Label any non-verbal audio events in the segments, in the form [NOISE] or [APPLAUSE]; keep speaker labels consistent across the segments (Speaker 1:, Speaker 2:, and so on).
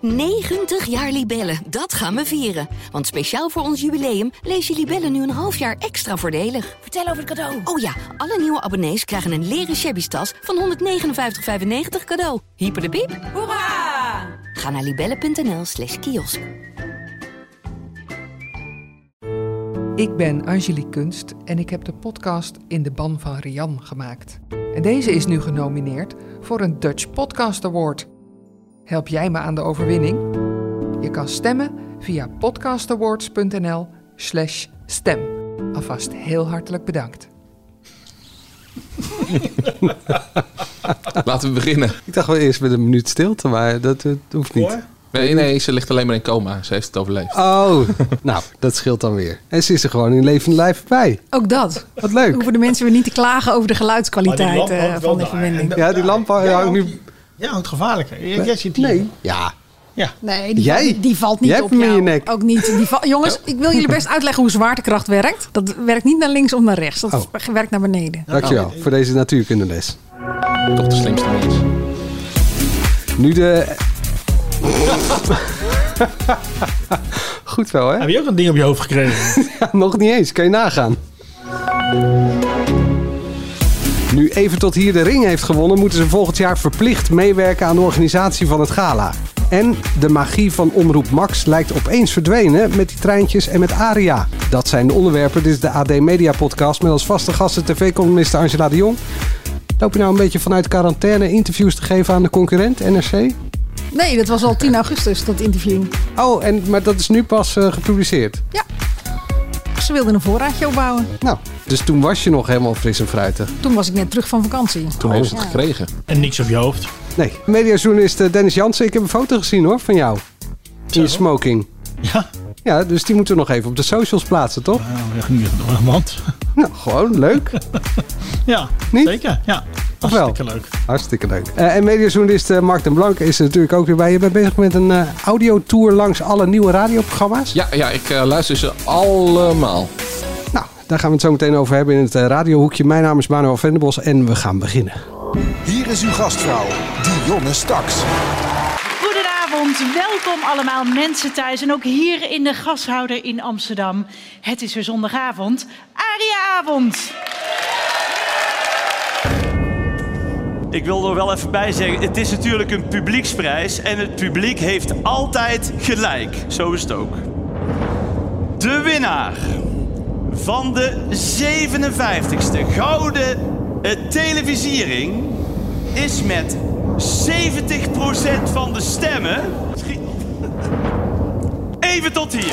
Speaker 1: 90 jaar Libellen, dat gaan we vieren. Want speciaal voor ons jubileum lees je Libellen nu een half jaar extra voordelig.
Speaker 2: Vertel over het cadeau.
Speaker 1: Oh ja, alle nieuwe abonnees krijgen een leren shabby tas van 159,95 cadeau. Hyper de piep.
Speaker 2: Hoera!
Speaker 1: Ga naar libellen.nl slash kiosk.
Speaker 3: Ik ben Angelique Kunst en ik heb de podcast In de Ban van Rian gemaakt. En deze is nu genomineerd voor een Dutch Podcast Award. Help jij me aan de overwinning? Je kan stemmen via podcastawards.nl slash stem. Alvast heel hartelijk bedankt.
Speaker 4: Laten we beginnen.
Speaker 5: Ik dacht wel eerst met een minuut stilte, maar dat, eh, hoeft niet.
Speaker 4: Nee, nee, ze ligt alleen maar in coma. Ze heeft het
Speaker 5: [LAUGHS]
Speaker 4: overleefd.
Speaker 5: Oh, nou, dat scheelt dan weer. En ze is er gewoon in levend lijf bij.
Speaker 6: Ook dat.
Speaker 5: Wat leuk.
Speaker 6: Hoeven de mensen weer niet te klagen over de
Speaker 7: Maar die
Speaker 6: geluidskwaliteit
Speaker 7: lamp
Speaker 6: eh,
Speaker 7: hangt wel
Speaker 6: van de
Speaker 7: daar.
Speaker 6: verbinding.
Speaker 7: En
Speaker 5: Ja, die lamp eh,
Speaker 7: jij
Speaker 5: hangt nu-
Speaker 7: die- Jij houdt gevaarlijk. Jij jij zit hier.
Speaker 5: Nee. Ja.
Speaker 7: Ja.
Speaker 6: Nee, die,
Speaker 5: Jij?
Speaker 6: valt- die valt niet
Speaker 5: Jij
Speaker 6: op
Speaker 5: hebt hem in
Speaker 6: jou.
Speaker 5: je nek.
Speaker 6: Ook niet. Die [LAUGHS] va- Jongens, ik wil jullie best uitleggen hoe zwaartekracht werkt. Dat werkt niet naar links of naar rechts. Dat
Speaker 5: Oh.
Speaker 6: werkt naar beneden.
Speaker 5: Dankjewel voor deze natuurkundeles.
Speaker 4: Toch de slimste mens.
Speaker 5: Nu [LAUGHS] de... Goed wel, hè?
Speaker 7: Heb je ook een ding op je hoofd
Speaker 5: [LAUGHS]
Speaker 7: gekregen?
Speaker 5: Nog niet eens, kan je nagaan. Nu even tot hier de ring heeft gewonnen, moeten ze volgend jaar verplicht meewerken aan de organisatie van het gala. En de magie van Omroep Max lijkt opeens verdwenen met die treintjes en met Aria. Dat zijn de onderwerpen. Dit is de AD Media Podcast met als vaste gasten tv-columniste Angela de Jong. Loop je nou een beetje vanuit quarantaine interviews te geven aan de concurrent NRC?
Speaker 6: Nee, dat was al 10 augustus, dat interview.
Speaker 5: Oh, en, maar dat is nu pas eh, gepubliceerd.
Speaker 6: Ze wilden een voorraadje opbouwen.
Speaker 5: Nou, dus toen was je nog helemaal fris en fruitig.
Speaker 6: Toen was ik net terug van vakantie.
Speaker 4: Toen heeft ze het gekregen.
Speaker 7: en niks op je hoofd.
Speaker 5: Nee, mediajournalist eh, Dennis Jansen, ik heb een foto gezien hoor, van jou. In je smoking.
Speaker 7: Ja.
Speaker 5: Ja, dus die moeten we nog even op de socials plaatsen, toch?
Speaker 7: Nou, dat ging niet door mijn hand.
Speaker 5: Nou, gewoon leuk.
Speaker 7: [LAUGHS] Ja,
Speaker 5: Niet?
Speaker 7: zeker. Ja, hartstikke leuk.
Speaker 5: Hartstikke leuk. Eh, en mediajournalist eh, Mark den Blank is er natuurlijk ook weer bij. Je bent bezig met een eh, audiotour langs alle nieuwe radioprogramma's.
Speaker 4: Ja, ja ik eh, luister ze allemaal.
Speaker 5: Nou, daar gaan we het zo meteen over hebben in het eh, radiohoekje. Mijn naam is Manuel Venderbos en we gaan beginnen.
Speaker 8: Hier is uw gastvrouw, Dionne Staks.
Speaker 9: Goedenavond, welkom allemaal mensen thuis en ook hier in de gashouder in Amsterdam. Het is weer zondagavond, Ariaavond.
Speaker 10: Ik wil er wel even bij zeggen, het is natuurlijk een publieksprijs en het publiek heeft altijd gelijk. Zo is het ook. De winnaar van de 57ste gouden eh, televisiering is met 70% van de stemmen. Schiet- Even tot hier.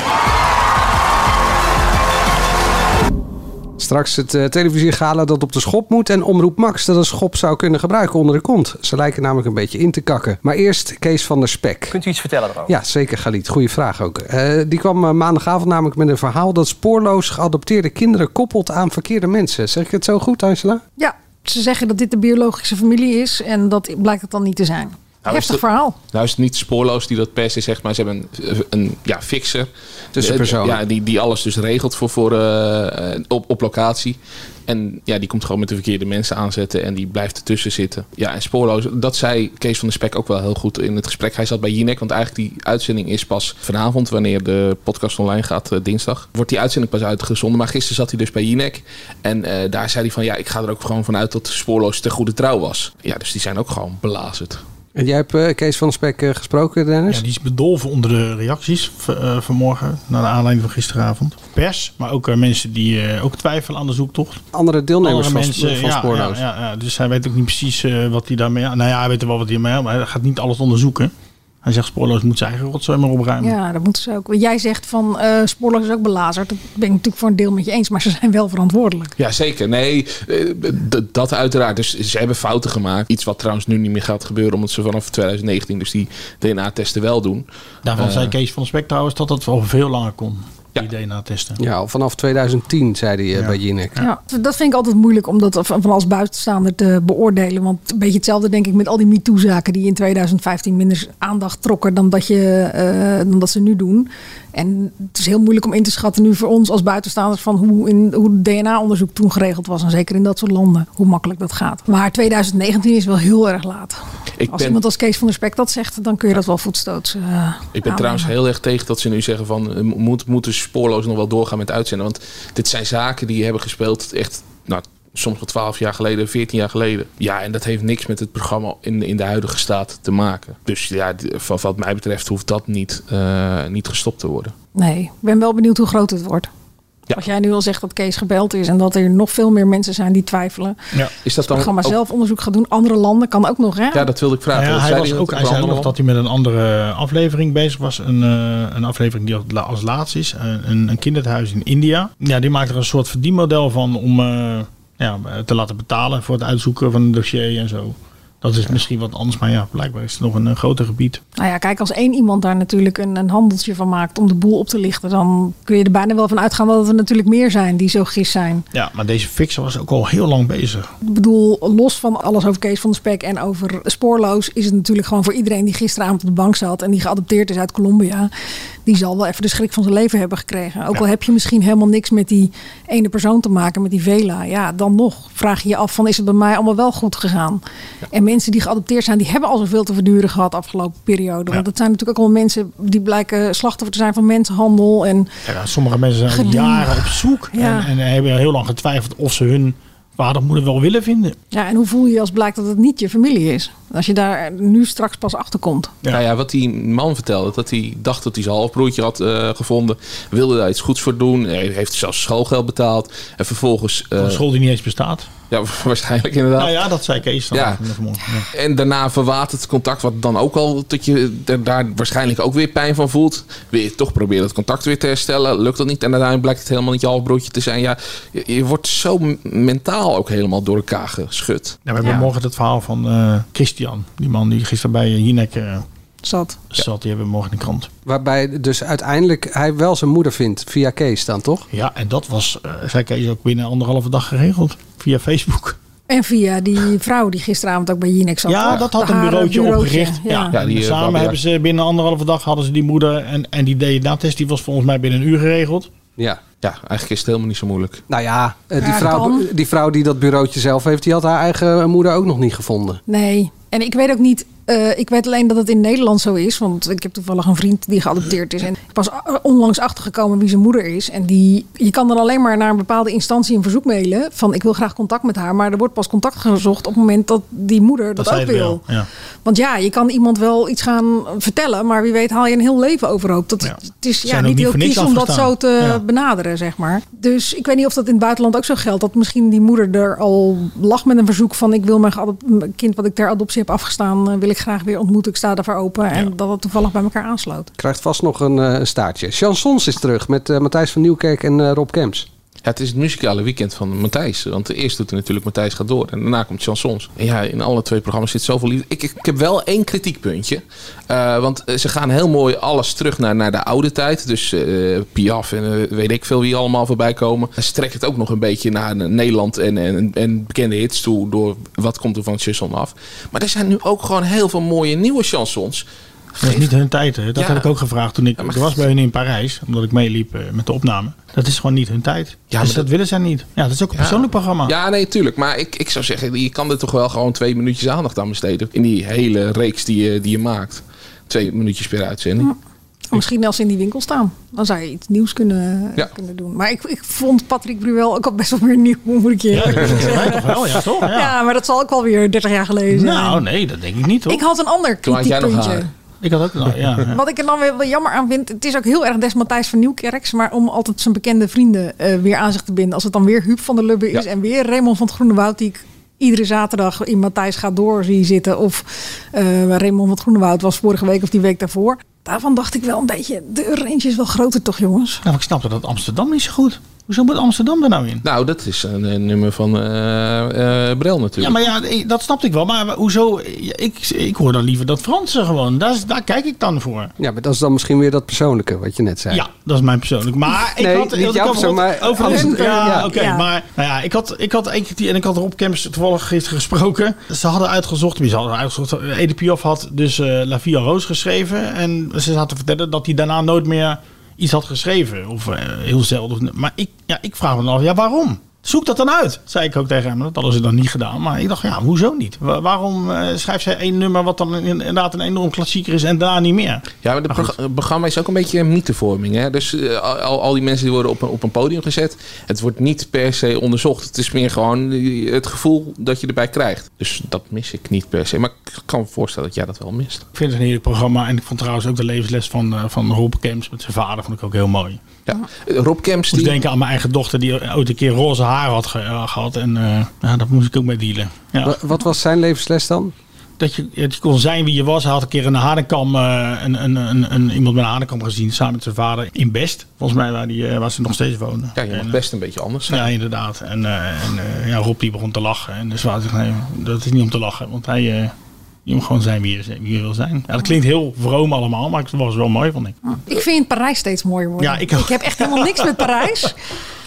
Speaker 5: Straks het eh, televisiegala dat op de schop moet en Omroep Max dat een schop zou kunnen gebruiken onder de kont. Ze lijken namelijk een beetje in te kakken. Maar eerst Kees van der Spek.
Speaker 11: Kunt u iets vertellen daarover?
Speaker 5: Ja, zeker Galit. Goeie vraag ook. Eh, die kwam eh, maandagavond namelijk met een verhaal dat spoorloos geadopteerde kinderen koppelt aan verkeerde mensen. Zeg ik het zo goed, Angela?
Speaker 6: Ja, ze zeggen dat dit de biologische familie is. En dat blijkt het dan niet te zijn.
Speaker 4: is
Speaker 6: Heftig
Speaker 4: de-
Speaker 6: verhaal.
Speaker 4: Nou is het niet spoorloos die dat per se zegt, maar ze hebben een, een ja, fixer.
Speaker 5: Tussenpersoon.
Speaker 4: Ja, die, die alles dus regelt voor, voor, eh, eh, op, op locatie. En ja, die komt gewoon met de verkeerde mensen aanzetten en die blijft ertussen zitten. Ja, en spoorloos, dat zei Kees van der Spek ook wel heel goed in het gesprek. Hij zat bij Jinek, want eigenlijk die uitzending is pas vanavond, wanneer de podcast online gaat, eh, dinsdag. Wordt die uitzending pas uitgezonden, maar gisteren zat hij dus bij Jinek. En eh, daar zei hij van, ja, ik ga er ook gewoon vanuit dat spoorloos te goede trouw was. Ja, dus die zijn ook gewoon belazerd.
Speaker 5: En jij hebt eh, Kees van der Spek eh, gesproken, Dennis?
Speaker 7: Ja, die is bedolven onder de reacties v- eh, vanmorgen, naar de aanleiding van gisteravond. Pers, maar ook eh, mensen die eh, ook twijfelen aan de zoektocht.
Speaker 5: Andere deelnemers
Speaker 7: Andere
Speaker 5: van, van
Speaker 7: ja,
Speaker 5: spoorloos.
Speaker 7: Ja, ja, ja. dus hij weet ook niet precies eh, wat hij daarmee... Nou ja, hij weet wel wat hij daarmee... Maar hij gaat niet alles onderzoeken. Hij zegt, spoorloos moet zijn eigen rotzooi maar opruimen.
Speaker 6: Ja, dat moeten ze ook. Jij zegt van eh spoorloos is ook belazerd. Dat ben ik natuurlijk voor een deel met je eens. Maar ze zijn wel verantwoordelijk.
Speaker 4: Ja, zeker. Nee, eh, d- dat uiteraard. Dus ze hebben fouten gemaakt. Iets wat trouwens nu niet meer gaat gebeuren, omdat ze vanaf 2019 dus die DNA-testen wel doen.
Speaker 7: Daarvan zei Kees van der Spek trouwens dat dat al veel langer kon.
Speaker 4: Ja.
Speaker 7: DNA testen.
Speaker 5: Ja, al vanaf 2010 zei hij eh,
Speaker 7: Ja.
Speaker 5: bij Jinek.
Speaker 6: Ja, Dus dat vind ik altijd moeilijk om dat van van als buitenstaander te beoordelen. Want een beetje hetzelfde denk ik met al die MeToo-zaken die in 2015 minder aandacht trokken dan dat, je, eh, dan dat ze nu doen. En het is heel moeilijk om in te schatten nu voor ons als buitenstaanders van hoe, in, hoe DNA-onderzoek toen geregeld was. En zeker in dat soort landen, hoe makkelijk dat gaat. Maar 2019 is wel heel erg laat.
Speaker 4: Ik
Speaker 6: als
Speaker 4: ben-
Speaker 6: iemand als Kees van der Spek dat zegt, dan kun je dat wel voetstoots eh,
Speaker 4: Ik ben
Speaker 6: aannemen.
Speaker 4: trouwens heel erg tegen dat ze nu zeggen van eh, moet, moeten spoorloos nog wel doorgaan met uitzenden. Want dit zijn zaken die hebben gespeeld echt nou, soms wel 12 jaar geleden, 14 jaar geleden. Ja, en dat heeft niks met het programma in, in de huidige staat te maken. Dus ja, d- van, wat mij betreft hoeft dat niet, eh, niet gestopt te worden.
Speaker 6: Nee, ik ben wel benieuwd hoe groot het wordt.
Speaker 4: Ja.
Speaker 6: Als jij nu al zegt dat Kees gebeld is en dat er nog veel meer mensen zijn die twijfelen.
Speaker 4: Is dat
Speaker 6: Het
Speaker 4: dan
Speaker 6: programma
Speaker 4: ook-
Speaker 6: zelf onderzoek gaat doen, andere landen kan ook nog. Hè?
Speaker 4: Ja, dat wilde ik vragen.
Speaker 7: Nou ja,
Speaker 4: Dat
Speaker 7: hij,
Speaker 4: zei
Speaker 7: was
Speaker 4: dat
Speaker 7: ook, hij
Speaker 4: op
Speaker 7: zei
Speaker 4: andere
Speaker 7: nog dat hij met een andere aflevering bezig was. Een, eh, een aflevering die als la- als laatste is. Een, een- een kinderthuis in India. Ja, die maakt er een soort verdienmodel van om eh, ja, te laten betalen voor het uitzoeken van een dossier en zo. Dat is misschien wat anders, maar ja, blijkbaar is het nog een, eh, groter gebied.
Speaker 6: Nou ja, kijk, als één iemand daar natuurlijk een, een handeltje van maakt om de boel op te lichten, dan kun je er bijna wel van uitgaan dat er natuurlijk meer zijn die zo gis zijn.
Speaker 7: Ja, maar deze fixer was ook al heel lang bezig.
Speaker 6: Ik bedoel, los van alles over Kees van der Spek en over spoorloos, is het natuurlijk gewoon voor iedereen die gisteravond op de bank zat en die geadopteerd is uit Colombia, die zal wel even de schrik van zijn leven hebben gekregen. Ook al heb je misschien helemaal niks met die ene persoon te maken, met die Vela, ja, dan nog vraag je je af van is het bij mij allemaal wel goed gegaan? En mensen die geadopteerd zijn, die hebben al zoveel te verduren gehad afgelopen periode. Want dat zijn natuurlijk ook allemaal mensen die blijken slachtoffer te zijn van mensenhandel en
Speaker 7: Ja, sommige mensen zijn al
Speaker 6: Gedoe.
Speaker 7: jaren op zoek
Speaker 6: Ja.
Speaker 7: en, en hebben heel lang getwijfeld of ze hun vader of moeder wel willen vinden.
Speaker 6: Ja, en hoe voel je je als blijkt dat het niet je familie is? Als je daar nu straks pas achter komt.
Speaker 7: Ja.
Speaker 4: Nou ja, wat die man vertelde, dat hij dacht dat hij zijn halfbroertje had eh, gevonden. Wilde daar iets goeds voor doen. Hij heeft zelfs schoolgeld betaald. En vervolgens... eh,
Speaker 7: Van Een school die niet eens bestaat.
Speaker 4: ja, [LAUGHS] waarschijnlijk inderdaad.
Speaker 7: Nou ja, dat zei Kees dan.
Speaker 4: Ja.
Speaker 7: vanmorgen. Ja.
Speaker 4: En daarna verwatert het contact, wat dan ook al dat je er daar waarschijnlijk ook weer pijn van voelt. Weer toch proberen het contact weer te herstellen. Lukt dat niet en uiteindelijk blijkt het helemaal niet je halfbroodje te zijn. Ja, je, je wordt zo m- mentaal ook helemaal door elkaar geschud.
Speaker 7: Ja, we hebben morgen het verhaal van eh, Christian. Die man die gisteren bij Jinek eh,
Speaker 6: Zat.
Speaker 7: zat. Die hebben we morgen in de krant.
Speaker 5: Waarbij dus uiteindelijk hij wel zijn moeder vindt via Kees dan, toch?
Speaker 7: Ja, en dat was, eh zei Kees, ook binnen anderhalve dag geregeld. Via Facebook.
Speaker 6: En via die vrouw die gisteravond ook bij Jinek zat.
Speaker 7: Ja,
Speaker 6: hè?
Speaker 7: dat had
Speaker 6: De
Speaker 7: een
Speaker 6: eh, haar
Speaker 7: bureautje, opgericht. Ja.
Speaker 4: Ja, die, eh,
Speaker 7: samen
Speaker 4: Babi-
Speaker 7: hebben ze binnen anderhalve dag hadden ze die moeder. En, en die DNA-test die was volgens mij binnen een uur geregeld.
Speaker 5: Ja.
Speaker 4: Ja, eigenlijk is het helemaal niet zo moeilijk.
Speaker 5: Nou ja, eh, die,
Speaker 6: Ja,
Speaker 5: vrouw,
Speaker 6: kan.
Speaker 5: die vrouw die dat bureautje zelf heeft, die had haar eigen eh, moeder ook nog niet gevonden.
Speaker 6: Nee, en ik weet ook niet. eh, ik weet alleen dat het in Nederland zo is. Want ik heb toevallig een vriend die geadopteerd is. En ik was a- onlangs achtergekomen wie zijn moeder is. En die, je kan dan alleen maar naar een bepaalde instantie een verzoek mailen. Van ik wil graag contact met haar. Maar er wordt pas contact gezocht op het moment dat die moeder dat,
Speaker 7: zij
Speaker 6: ook
Speaker 7: het
Speaker 6: wil.
Speaker 7: Ja.
Speaker 6: Want ja, je kan iemand wel iets gaan vertellen, maar wie weet haal je een heel leven overhoop. Dat,
Speaker 7: Ja.
Speaker 6: Het is
Speaker 7: Zijn
Speaker 6: ja,
Speaker 7: ook
Speaker 6: niet
Speaker 7: niet
Speaker 6: heel
Speaker 7: voor niks
Speaker 6: kies om dat zo
Speaker 7: afgestaan.
Speaker 6: te
Speaker 7: Ja.
Speaker 6: benaderen, zeg maar. Dus ik weet niet of dat in het buitenland ook zo geldt. Dat misschien die moeder er al lag met een verzoek van... ik wil mijn, geadop- mijn kind wat ik ter adoptie heb afgestaan... eh, wil ik graag weer ontmoeten, ik sta daarvoor open. En dat dat toevallig bij elkaar aansloot.
Speaker 5: Krijgt vast nog een eh, staartje. Chansons is terug met eh, Matthijs van Nieuwkerk en eh, Rob Kemps.
Speaker 4: Ja, het is het muzikale weekend van Matthijs. Want eerst doet hij natuurlijk Matthijs gaat door. En daarna komt chansons. En ja, in alle twee programma's zit zoveel liefde. Ik, ik heb wel één kritiekpuntje. Eh, want eh, ze gaan heel mooi alles terug naar, naar de oude tijd. Dus eh, Piaf en eh, weet ik veel wie allemaal voorbij komen. En ze trekken het ook nog een beetje naar eh, Nederland en, en, en bekende hits toe. Door wat komt er van chanson af. Maar er zijn nu ook gewoon heel veel mooie nieuwe chansons.
Speaker 7: Dat is niet hun tijd. Hè. Dat
Speaker 4: Ja.
Speaker 7: heb ik ook gevraagd toen ik
Speaker 4: Ja, maar-
Speaker 7: er was bij hun in Parijs. Omdat ik meeliep eh, met de opname. Dat is gewoon niet hun tijd.
Speaker 4: maar
Speaker 7: dus dat,
Speaker 4: dat-
Speaker 7: willen zij niet. Ja, dat is ook een persoonlijk programma.
Speaker 4: Ja, nee, tuurlijk. Maar ik, ik zou zeggen, je kan er toch wel gewoon twee minuutjes aandacht aan besteden. In die hele reeks die je, die je maakt. Twee minuutjes per uitzending.
Speaker 6: Misschien als ze in die winkel staan. Dan zou je iets nieuws kunnen,
Speaker 4: Ja.
Speaker 6: kunnen doen. Maar ik, ik vond Patrick Bruel ook al best wel weer nieuw, moet ik je
Speaker 7: Ja,
Speaker 6: eerlijk
Speaker 7: dat is
Speaker 6: zeggen.
Speaker 7: mij toch wel, ja, toch?
Speaker 6: Ja. maar dat zal ook wel weer 30 jaar geleden zijn.
Speaker 7: Nou, nee, dat denk ik niet hoor.
Speaker 6: ik had een ander
Speaker 4: Toen had jij nog
Speaker 6: kritiekpuntje.
Speaker 4: haar.
Speaker 7: Ik had ook
Speaker 6: [LAUGHS]
Speaker 7: een- ja, ja.
Speaker 6: Wat ik er dan weer wel jammer aan vind, het is ook heel erg des Matthijs van Nieuwkerks, maar om altijd zijn bekende vrienden eh, weer aan zich te binden. Als het dan weer Huub van der Lubbe is
Speaker 4: Ja.
Speaker 6: en weer Raymond van het Groene Woud, die ik iedere zaterdag in Matthijs gaat door zie zitten. Of eh, Raymond van het Groene Woud was vorige week of die week daarvoor. Daarvan dacht ik wel een beetje, de range is wel groter toch jongens?
Speaker 7: Nou, ik snapte dat Amsterdam niet zo goed. Hoezo moet Amsterdam er nou in?
Speaker 4: Nou, dat is een, eh, nummer van eh, eh, Brel natuurlijk.
Speaker 7: Ja, maar ja, ik- dat snapte ik wel. Maar hoezo? Ik, ik hoor dan liever dat Franse gewoon. Daar, is- daar kijk ik dan voor.
Speaker 5: Ja, maar dat is dan misschien weer dat persoonlijke wat je net zei.
Speaker 7: Ja, dat is mijn persoonlijk. Maar ik
Speaker 5: Nee,
Speaker 7: had
Speaker 5: niet
Speaker 7: ik
Speaker 5: jouw
Speaker 7: had
Speaker 5: persoon,
Speaker 7: Rob-
Speaker 5: maar
Speaker 7: over
Speaker 5: Amsterdam.
Speaker 7: Amsterdam. Ja,
Speaker 5: Ja.
Speaker 7: oké.
Speaker 6: Ja.
Speaker 7: Maar nou ja, ik had, ik had eentje die en ik had Rob Kemps toevallig gisteren gesproken. Ze hadden uitgezocht, wie ze hadden uitgezocht. Edith Piaf had dus eh, La Via Roos geschreven en ze zaten te vertellen dat hij daarna nooit meer iets had geschreven of eh, heel zelden. Of- Maar ik, ja, ik vraag me dan af, ja, waarom? Zoek dat dan uit, zei ik ook tegen hem. Dat hadden ze dan niet gedaan. Maar ik dacht, ja, hoezo niet? Wa- waarom eh, schrijft zij één nummer wat dan in- inderdaad een enorm klassieker is en daarna niet meer?
Speaker 4: Ja, maar het
Speaker 7: Nou,
Speaker 4: programma is ook een beetje een mythevorming. Hè? Dus eh, al, al die mensen die worden op een, op een podium gezet. Het wordt niet per se onderzocht. Het is meer gewoon eh, het gevoel dat je erbij krijgt. Dus dat mis ik niet per se. Maar ik kan me voorstellen dat jij dat wel mist.
Speaker 7: Ik vind het een heerlijk programma. En ik vond trouwens ook de levensles van, eh, van Rob Kemps met zijn vader vond ik ook heel mooi. Ik
Speaker 4: Ja. Eh, Rob Kemps,
Speaker 7: moest
Speaker 4: die,
Speaker 7: denken aan mijn eigen dochter die ooit een keer roze haar had ge- eh, gehad. En eh ja, dat moest ik ook mee dealen. Ja.
Speaker 5: Wa- Wat was zijn levensles dan?
Speaker 7: Dat, je, dat je kon zijn wie je was. Hij had een keer een hanenkam, eh, een, een, een, een- iemand met een hanenkam gezien samen met zijn vader in Best. Volgens mij waar, die, eh, waar ze nog steeds wonen.
Speaker 4: ja, je
Speaker 7: En,
Speaker 4: mag
Speaker 7: eh,
Speaker 4: best een beetje anders zijn.
Speaker 7: Ja, inderdaad. En, eh, en eh, ja, Rob die begon te lachen. En dus waren ze nee, dat is niet om te lachen. Want hij, eh, je moet gewoon zijn wie je, wie je wil zijn. Ja, dat klinkt heel vroom allemaal, maar het was wel mooi, vond ik.
Speaker 6: Ik vind Parijs steeds mooier worden.
Speaker 7: Ja, ik ook.
Speaker 6: ik heb echt helemaal niks met
Speaker 7: [LAUGHS]
Speaker 6: Parijs.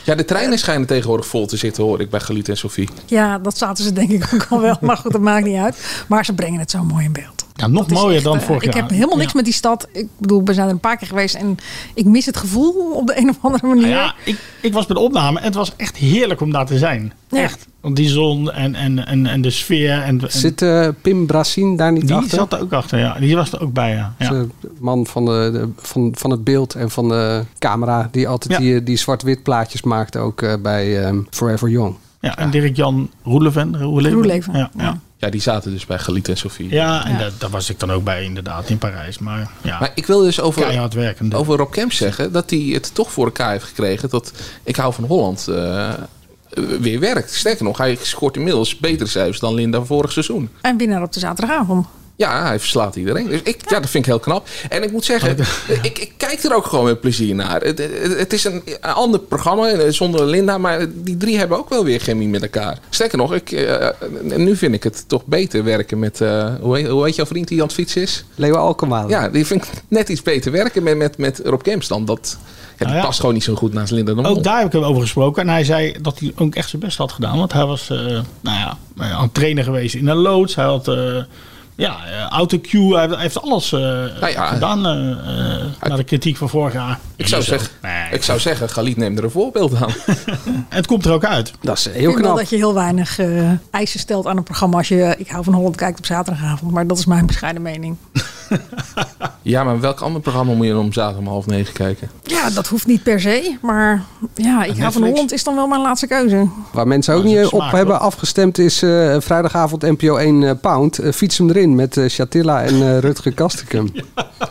Speaker 4: Ja, de treinen schijnen tegenwoordig vol te zitten, hoor ik bij Galit en Sophie.
Speaker 6: Ja, dat zaten ze denk ik ook al wel. Maar goed, dat maakt niet uit. Maar ze brengen het zo mooi in beeld.
Speaker 7: Oh Ja, nog
Speaker 6: Dat is
Speaker 7: mooier
Speaker 6: echt,
Speaker 7: dan
Speaker 6: eh,
Speaker 7: vorig jaar.
Speaker 6: Ik heb helemaal niks
Speaker 7: Ja.
Speaker 6: met die stad. Ik bedoel, we zijn er een paar keer geweest en ik mis het gevoel op de een of andere manier.
Speaker 7: Nou ja, ik, ik was bij de opname en het was echt heerlijk om daar te zijn.
Speaker 6: Ja.
Speaker 7: Echt. Want die zon en, en, en, en de sfeer. En, en
Speaker 5: Zit eh, Pim Brassin daar niet
Speaker 7: die
Speaker 5: achter?
Speaker 7: zat er ook achter, ja. Die was er ook bij, ja. ja.
Speaker 5: De man van, de, de- van, van het beeld en van de camera. Die altijd
Speaker 7: Ja.
Speaker 5: die, die zwart-wit plaatjes maakte ook eh, bij ehm, Forever Young.
Speaker 7: Ja, en Dirk-Jan Roeleven. Roeleven.
Speaker 6: Roeleven,
Speaker 7: Ja,
Speaker 6: ja.
Speaker 7: ja.
Speaker 4: Ja, die zaten dus bij Galit en Sophie.
Speaker 7: ja en
Speaker 6: Ja.
Speaker 7: Daar, daar was ik dan ook bij inderdaad in Parijs. Maar ja,
Speaker 4: Maar ik wil dus over,
Speaker 7: keihard werkende.
Speaker 4: over Rob Kemps zeggen dat hij het toch voor elkaar heeft gekregen dat Ik hou van Holland eh, weer werkt. Sterker nog, hij scoort inmiddels betere cijfers dan Linda vorig seizoen.
Speaker 6: En winnaar op de zaterdagavond.
Speaker 4: Ja, hij verslaat iedereen. Dus ik, ja, dat vind ik heel knap. En ik moet
Speaker 7: Oh,
Speaker 4: zeggen, [LAUGHS] ik, ik kijk er ook gewoon met plezier naar. Het, het, het is een, een ander programma eh, zonder Linda, maar die drie hebben ook wel weer chemie met elkaar. Sterker nog, ik, eh, nu vind ik het toch beter werken met, eh, hoe, heet, hoe heet jouw vriend die aan het fietsen is?
Speaker 5: Leo Alkema.
Speaker 4: Ja, die vind ik net iets beter werken met, met, met Rob Kemps dan. Dat, ja, die
Speaker 7: Nou ja.
Speaker 4: past gewoon niet zo goed naast Linda de Mol.
Speaker 7: Ook daar heb ik hem over gesproken. En hij zei dat hij ook echt zijn best had gedaan. Want hij was eh, nou ja, aan het trainen geweest in een loods. Hij had eh ja, eh, autocue. Hij heeft alles eh,
Speaker 4: Nou ja,
Speaker 7: gedaan eh, eh, naar de kritiek van vorig jaar.
Speaker 4: Ik zou, zeggen,
Speaker 7: Nee.
Speaker 4: ik zou zeggen, Galit neemt er een voorbeeld
Speaker 5: [LAUGHS]
Speaker 4: aan.
Speaker 7: En het komt er ook uit.
Speaker 5: Dat is
Speaker 6: Ik
Speaker 5: heel
Speaker 6: vind wel
Speaker 5: knap.
Speaker 6: dat je heel weinig eh, eisen stelt aan een programma als je eh, Ik hou van Holland kijkt op zaterdagavond. Maar dat is mijn bescheiden mening.
Speaker 4: Ja, maar welk ander programma moet je dan om zaterdag om half negen kijken?
Speaker 6: Ja, dat hoeft niet per se. Maar ja, Ik hou van
Speaker 7: Netflix?
Speaker 6: Holland is dan wel mijn laatste keuze.
Speaker 5: Waar mensen ook
Speaker 7: Maar is
Speaker 5: niet eh,
Speaker 7: het
Speaker 5: op
Speaker 7: smaak,
Speaker 5: hebben
Speaker 7: toch?
Speaker 5: afgestemd is eh, vrijdagavond NPO 1 eh, Pound. Eh, fiets hem erin met eh, Shatilla en eh, Rutger Kastekum.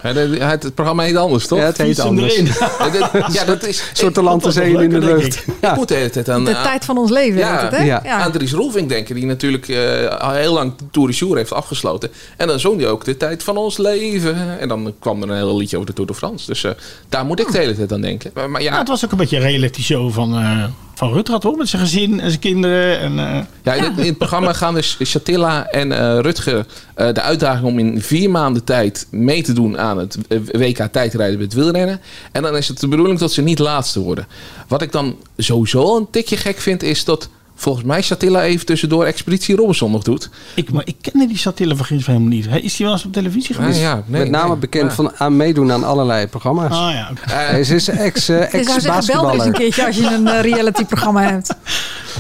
Speaker 4: Hè, de- de- Het, het programma heet anders, toch?
Speaker 5: Ja, het heet
Speaker 7: Fiets hem
Speaker 5: anders.
Speaker 7: erin.
Speaker 5: Een
Speaker 4: [LAUGHS] Ja, dat- ja, dat is...
Speaker 5: soort de
Speaker 4: ik,
Speaker 5: land te
Speaker 7: dat was
Speaker 5: zeeën in de
Speaker 7: leuker, denk
Speaker 5: lucht. Ja.
Speaker 4: ik moet de hele tijd aan...
Speaker 6: De
Speaker 4: aan-
Speaker 6: tijd van ons leven.
Speaker 4: Nou, ja,
Speaker 6: heet het, hè?
Speaker 5: ja.
Speaker 4: aan Andries Roelvink denken, die natuurlijk eh, al heel lang Tour de Jour heeft afgesloten. En dan zong hij ook de tijd van ons leven. En dan kwam er een heel liedje over de Tour de France. Dus eh, daar moet ik de hele tijd aan denken. Maar, maar
Speaker 7: Ja,
Speaker 4: ja,
Speaker 7: het was ook een beetje een reality show van, eh van Rutger, hoor. Met zijn gezin en zijn kinderen. En, eh,
Speaker 4: ja, in, het, in het programma gaan dus Chatilla en eh, Rutger eh, de uitdaging om in vier maanden tijd mee te doen aan het eh, WK tijdrijden met wielrennen. En dan is het de bedoeling dat ze niet laatste worden. Wat ik dan sowieso een tikje gek vind, is dat volgens mij Chatilla even tussendoor Expeditie Robinson nog doet.
Speaker 7: ik, maar ik kende die satire van Gins helemaal niet. Hè, Is die wel eens op televisie
Speaker 4: Ah,
Speaker 7: geweest?
Speaker 4: ja, nee,
Speaker 5: Met name
Speaker 4: nee. Ah.
Speaker 5: bekend
Speaker 4: Ja.
Speaker 5: van aan meedoen aan allerlei programma's.
Speaker 7: Ah ja, oké.
Speaker 4: Eh,
Speaker 5: Hij is
Speaker 6: Ik zou zeggen, bel er eens
Speaker 5: ex-basketballer.
Speaker 6: een keertje als je een eh, reality-programma hebt.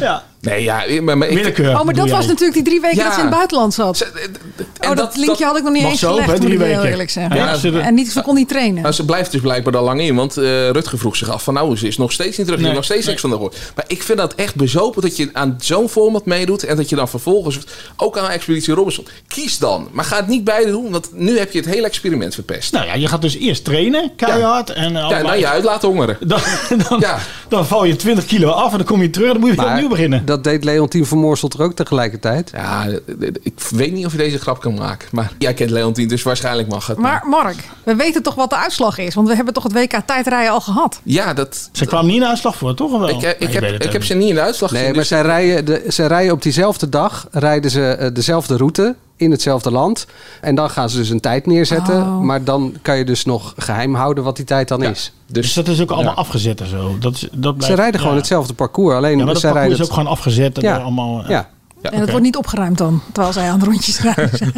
Speaker 7: ja.
Speaker 4: nee, ja, maar, maar ik-
Speaker 7: willekeur.
Speaker 6: Oh, maar
Speaker 7: bedoel
Speaker 6: dat was
Speaker 7: jij.
Speaker 6: natuurlijk die drie weken
Speaker 4: Ja.
Speaker 6: dat ze in het buitenland zat.
Speaker 4: Ze- eh, d- d- en
Speaker 6: oh, dat, linkje had ik nog niet
Speaker 7: was
Speaker 6: eens
Speaker 7: zo,
Speaker 6: gelegd,
Speaker 7: hè,
Speaker 6: moet
Speaker 7: drie
Speaker 6: ik heel
Speaker 7: weken.
Speaker 6: eerlijk zeggen.
Speaker 7: Ja, ze-
Speaker 6: En niet, ze kon niet trainen.
Speaker 4: Nou, ze blijft dus blijkbaar al lang in. Want eh, Rutger vroeg zich af van nou, ze is nog steeds niet terug. Ik
Speaker 7: Nee,
Speaker 4: heb nog steeds niks van haar gehoord. Maar ik vind dat echt bezopen dat je aan zo'n format meedoet. En dat je dan vervolgens ook aan Expeditie Robinson. Kies dan. Maar ga het niet beide doen. Want nu heb je het hele experiment verpest.
Speaker 7: Nou ja, je gaat dus eerst trainen, keihard. En oh,
Speaker 4: ja, en dan je uit laat hongeren.
Speaker 7: [LAUGHS] Dan, dan,
Speaker 4: Ja.
Speaker 7: dan val je 20 kilo af en dan kom je terug en dan moet je weer
Speaker 5: Maar
Speaker 7: opnieuw beginnen.
Speaker 5: dat deed Leontien van Moorsel er ook tegelijkertijd.
Speaker 4: Ja, d- d- ik weet niet of je deze grap kan maken. Maar jij kent Leontien, dus waarschijnlijk mag het.
Speaker 6: Maar Mark, we weten toch wat de uitslag is? Want we hebben toch het WK tijdrijden al gehad?
Speaker 4: ja, dat...
Speaker 7: Ze kwam niet in de uitslag voor, toch? Of wel?
Speaker 4: Ik, eh,
Speaker 7: Nee,
Speaker 4: ik, heb,
Speaker 7: Oh, weet het
Speaker 4: ik heb
Speaker 7: ook
Speaker 4: ze
Speaker 7: niet.
Speaker 4: niet in de uitslag
Speaker 5: Nee,
Speaker 4: gezien,
Speaker 5: maar
Speaker 4: dus-
Speaker 5: zij rijden, de, zij rijden op diezelfde dag, rijden ze eh, dezelfde route in hetzelfde land. En dan gaan ze dus een tijd neerzetten.
Speaker 6: Oh.
Speaker 5: Maar dan kan je dus nog geheim houden wat die tijd dan
Speaker 4: Ja,
Speaker 5: is.
Speaker 7: Dus
Speaker 4: Dus
Speaker 7: dat is ook allemaal afgezet en zo. Dat, is- dat blijft,
Speaker 5: Ze rijden gewoon
Speaker 7: ja.
Speaker 5: hetzelfde parcours. Alleen dus
Speaker 7: Ja, maar dat
Speaker 5: zij
Speaker 7: parcours
Speaker 5: rijden
Speaker 7: is ook gewoon afgezet. En
Speaker 5: Ja.
Speaker 7: door allemaal, eh,
Speaker 5: Ja.
Speaker 6: en dat wordt niet opgeruimd dan, terwijl zij aan de rondjes rijden [LAUGHS] zijn.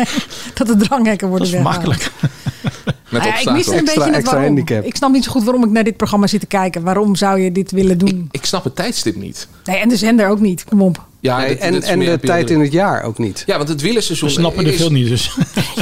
Speaker 6: dat de dranghekken
Speaker 7: Dat
Speaker 6: worden
Speaker 7: is
Speaker 6: weggehaald.
Speaker 7: makkelijk.
Speaker 4: met
Speaker 5: Ah
Speaker 6: Nou ja, ik
Speaker 4: opstaan
Speaker 6: mis
Speaker 4: toch?
Speaker 5: Extra-
Speaker 6: een beetje het
Speaker 5: extra
Speaker 6: waarom.
Speaker 5: handicap.
Speaker 6: Ik snap niet zo goed waarom ik naar dit programma zit te kijken. Waarom zou je dit willen doen?
Speaker 4: Ik snap het tijdstip niet.
Speaker 6: Nee, en de zender ook niet. Kom op.
Speaker 4: Ja,
Speaker 5: Nee,
Speaker 4: dat-
Speaker 5: en
Speaker 4: dat is
Speaker 5: en
Speaker 4: meer
Speaker 5: de
Speaker 4: op je-
Speaker 5: tijd in het jaar ook niet.
Speaker 4: Ja, want het wielerseizoen...
Speaker 7: We snappen er
Speaker 4: is-
Speaker 7: veel niet, dus [LAUGHS]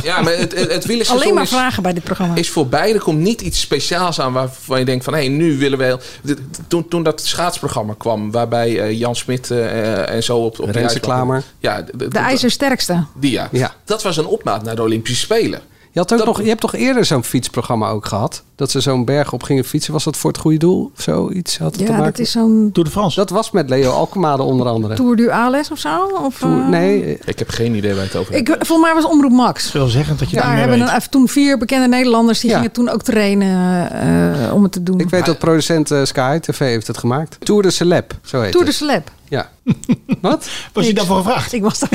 Speaker 4: Ja, maar het, het, het wielerseizoen
Speaker 6: Alleen maar
Speaker 4: is-
Speaker 6: vragen bij dit programma.
Speaker 4: is voorbij. Er komt niet iets speciaals aan waarvan je denkt van... hé, nu willen we... heel- Dit- Toen, toen dat schaatsprogramma kwam... waarbij eh, Jan Smit eh, en zo op, op die
Speaker 5: Renze
Speaker 4: uitslag-
Speaker 5: Klamer.
Speaker 4: Ja, d- d- d-
Speaker 6: De ijzersterkste.
Speaker 4: Die, ja.
Speaker 5: Ja.
Speaker 4: Dat was een opmaat naar de Olympische Spelen.
Speaker 5: Je, had ook
Speaker 4: Dat-
Speaker 5: nog, je hebt toch eerder zo'n fietsprogramma ook gehad? Dat ze zo'n berg op gingen fietsen. Was dat voor het goede doel of zoiets? Had het te
Speaker 6: Ja,
Speaker 5: maken?
Speaker 6: dat is zo'n
Speaker 7: Tour de France.
Speaker 5: dat was met Leo Alkemade onder andere.
Speaker 6: Tour du Ales of zo? Of,
Speaker 5: Toen-
Speaker 6: eh,
Speaker 5: nee,
Speaker 4: Ik heb geen idee waar je het over hebt.
Speaker 6: Ik, volgens mij was Omroep Max.
Speaker 7: Veelzeggend dat je
Speaker 6: Daar
Speaker 7: daar
Speaker 6: hebben
Speaker 7: mee weet.
Speaker 6: een- toen vier bekende Nederlanders die
Speaker 5: Ja.
Speaker 6: gingen toen ook trainen eh, om het te doen.
Speaker 5: ik weet dat producent eh, Sky TV heeft het gemaakt. Tour de Celeb, zo heet
Speaker 6: Tour de
Speaker 5: het.
Speaker 6: Slap.
Speaker 5: Ja. Wat?
Speaker 7: Was je daarvoor gevraagd?
Speaker 6: Ik was daar.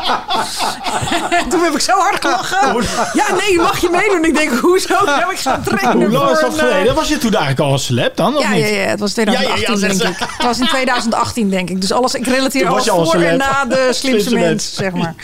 Speaker 7: [LAUGHS]
Speaker 6: toen heb ik zo hard gelachen. Ja, nee, mag je meedoen? Ik denk, hoezo heb ik gaan trainen?
Speaker 7: Hoe lang is
Speaker 6: voor
Speaker 7: dat
Speaker 6: een, eh,
Speaker 7: geleden? Was je toen eigenlijk al een slap dan? Of
Speaker 6: Ja,
Speaker 7: niet?
Speaker 6: ja, ja, het was
Speaker 7: Ja, ja,
Speaker 6: 2018
Speaker 7: ja, zegt
Speaker 6: denk ik.
Speaker 7: ze.
Speaker 6: Het was in 2018 denk ik. Dus alles, ik relateer
Speaker 7: Toen was
Speaker 6: alles
Speaker 7: je al
Speaker 6: voor en
Speaker 7: celeb.
Speaker 6: na de slimste
Speaker 7: Slimste
Speaker 6: mens,
Speaker 7: mens.
Speaker 6: zeg
Speaker 7: [LAUGHS]
Speaker 6: maar.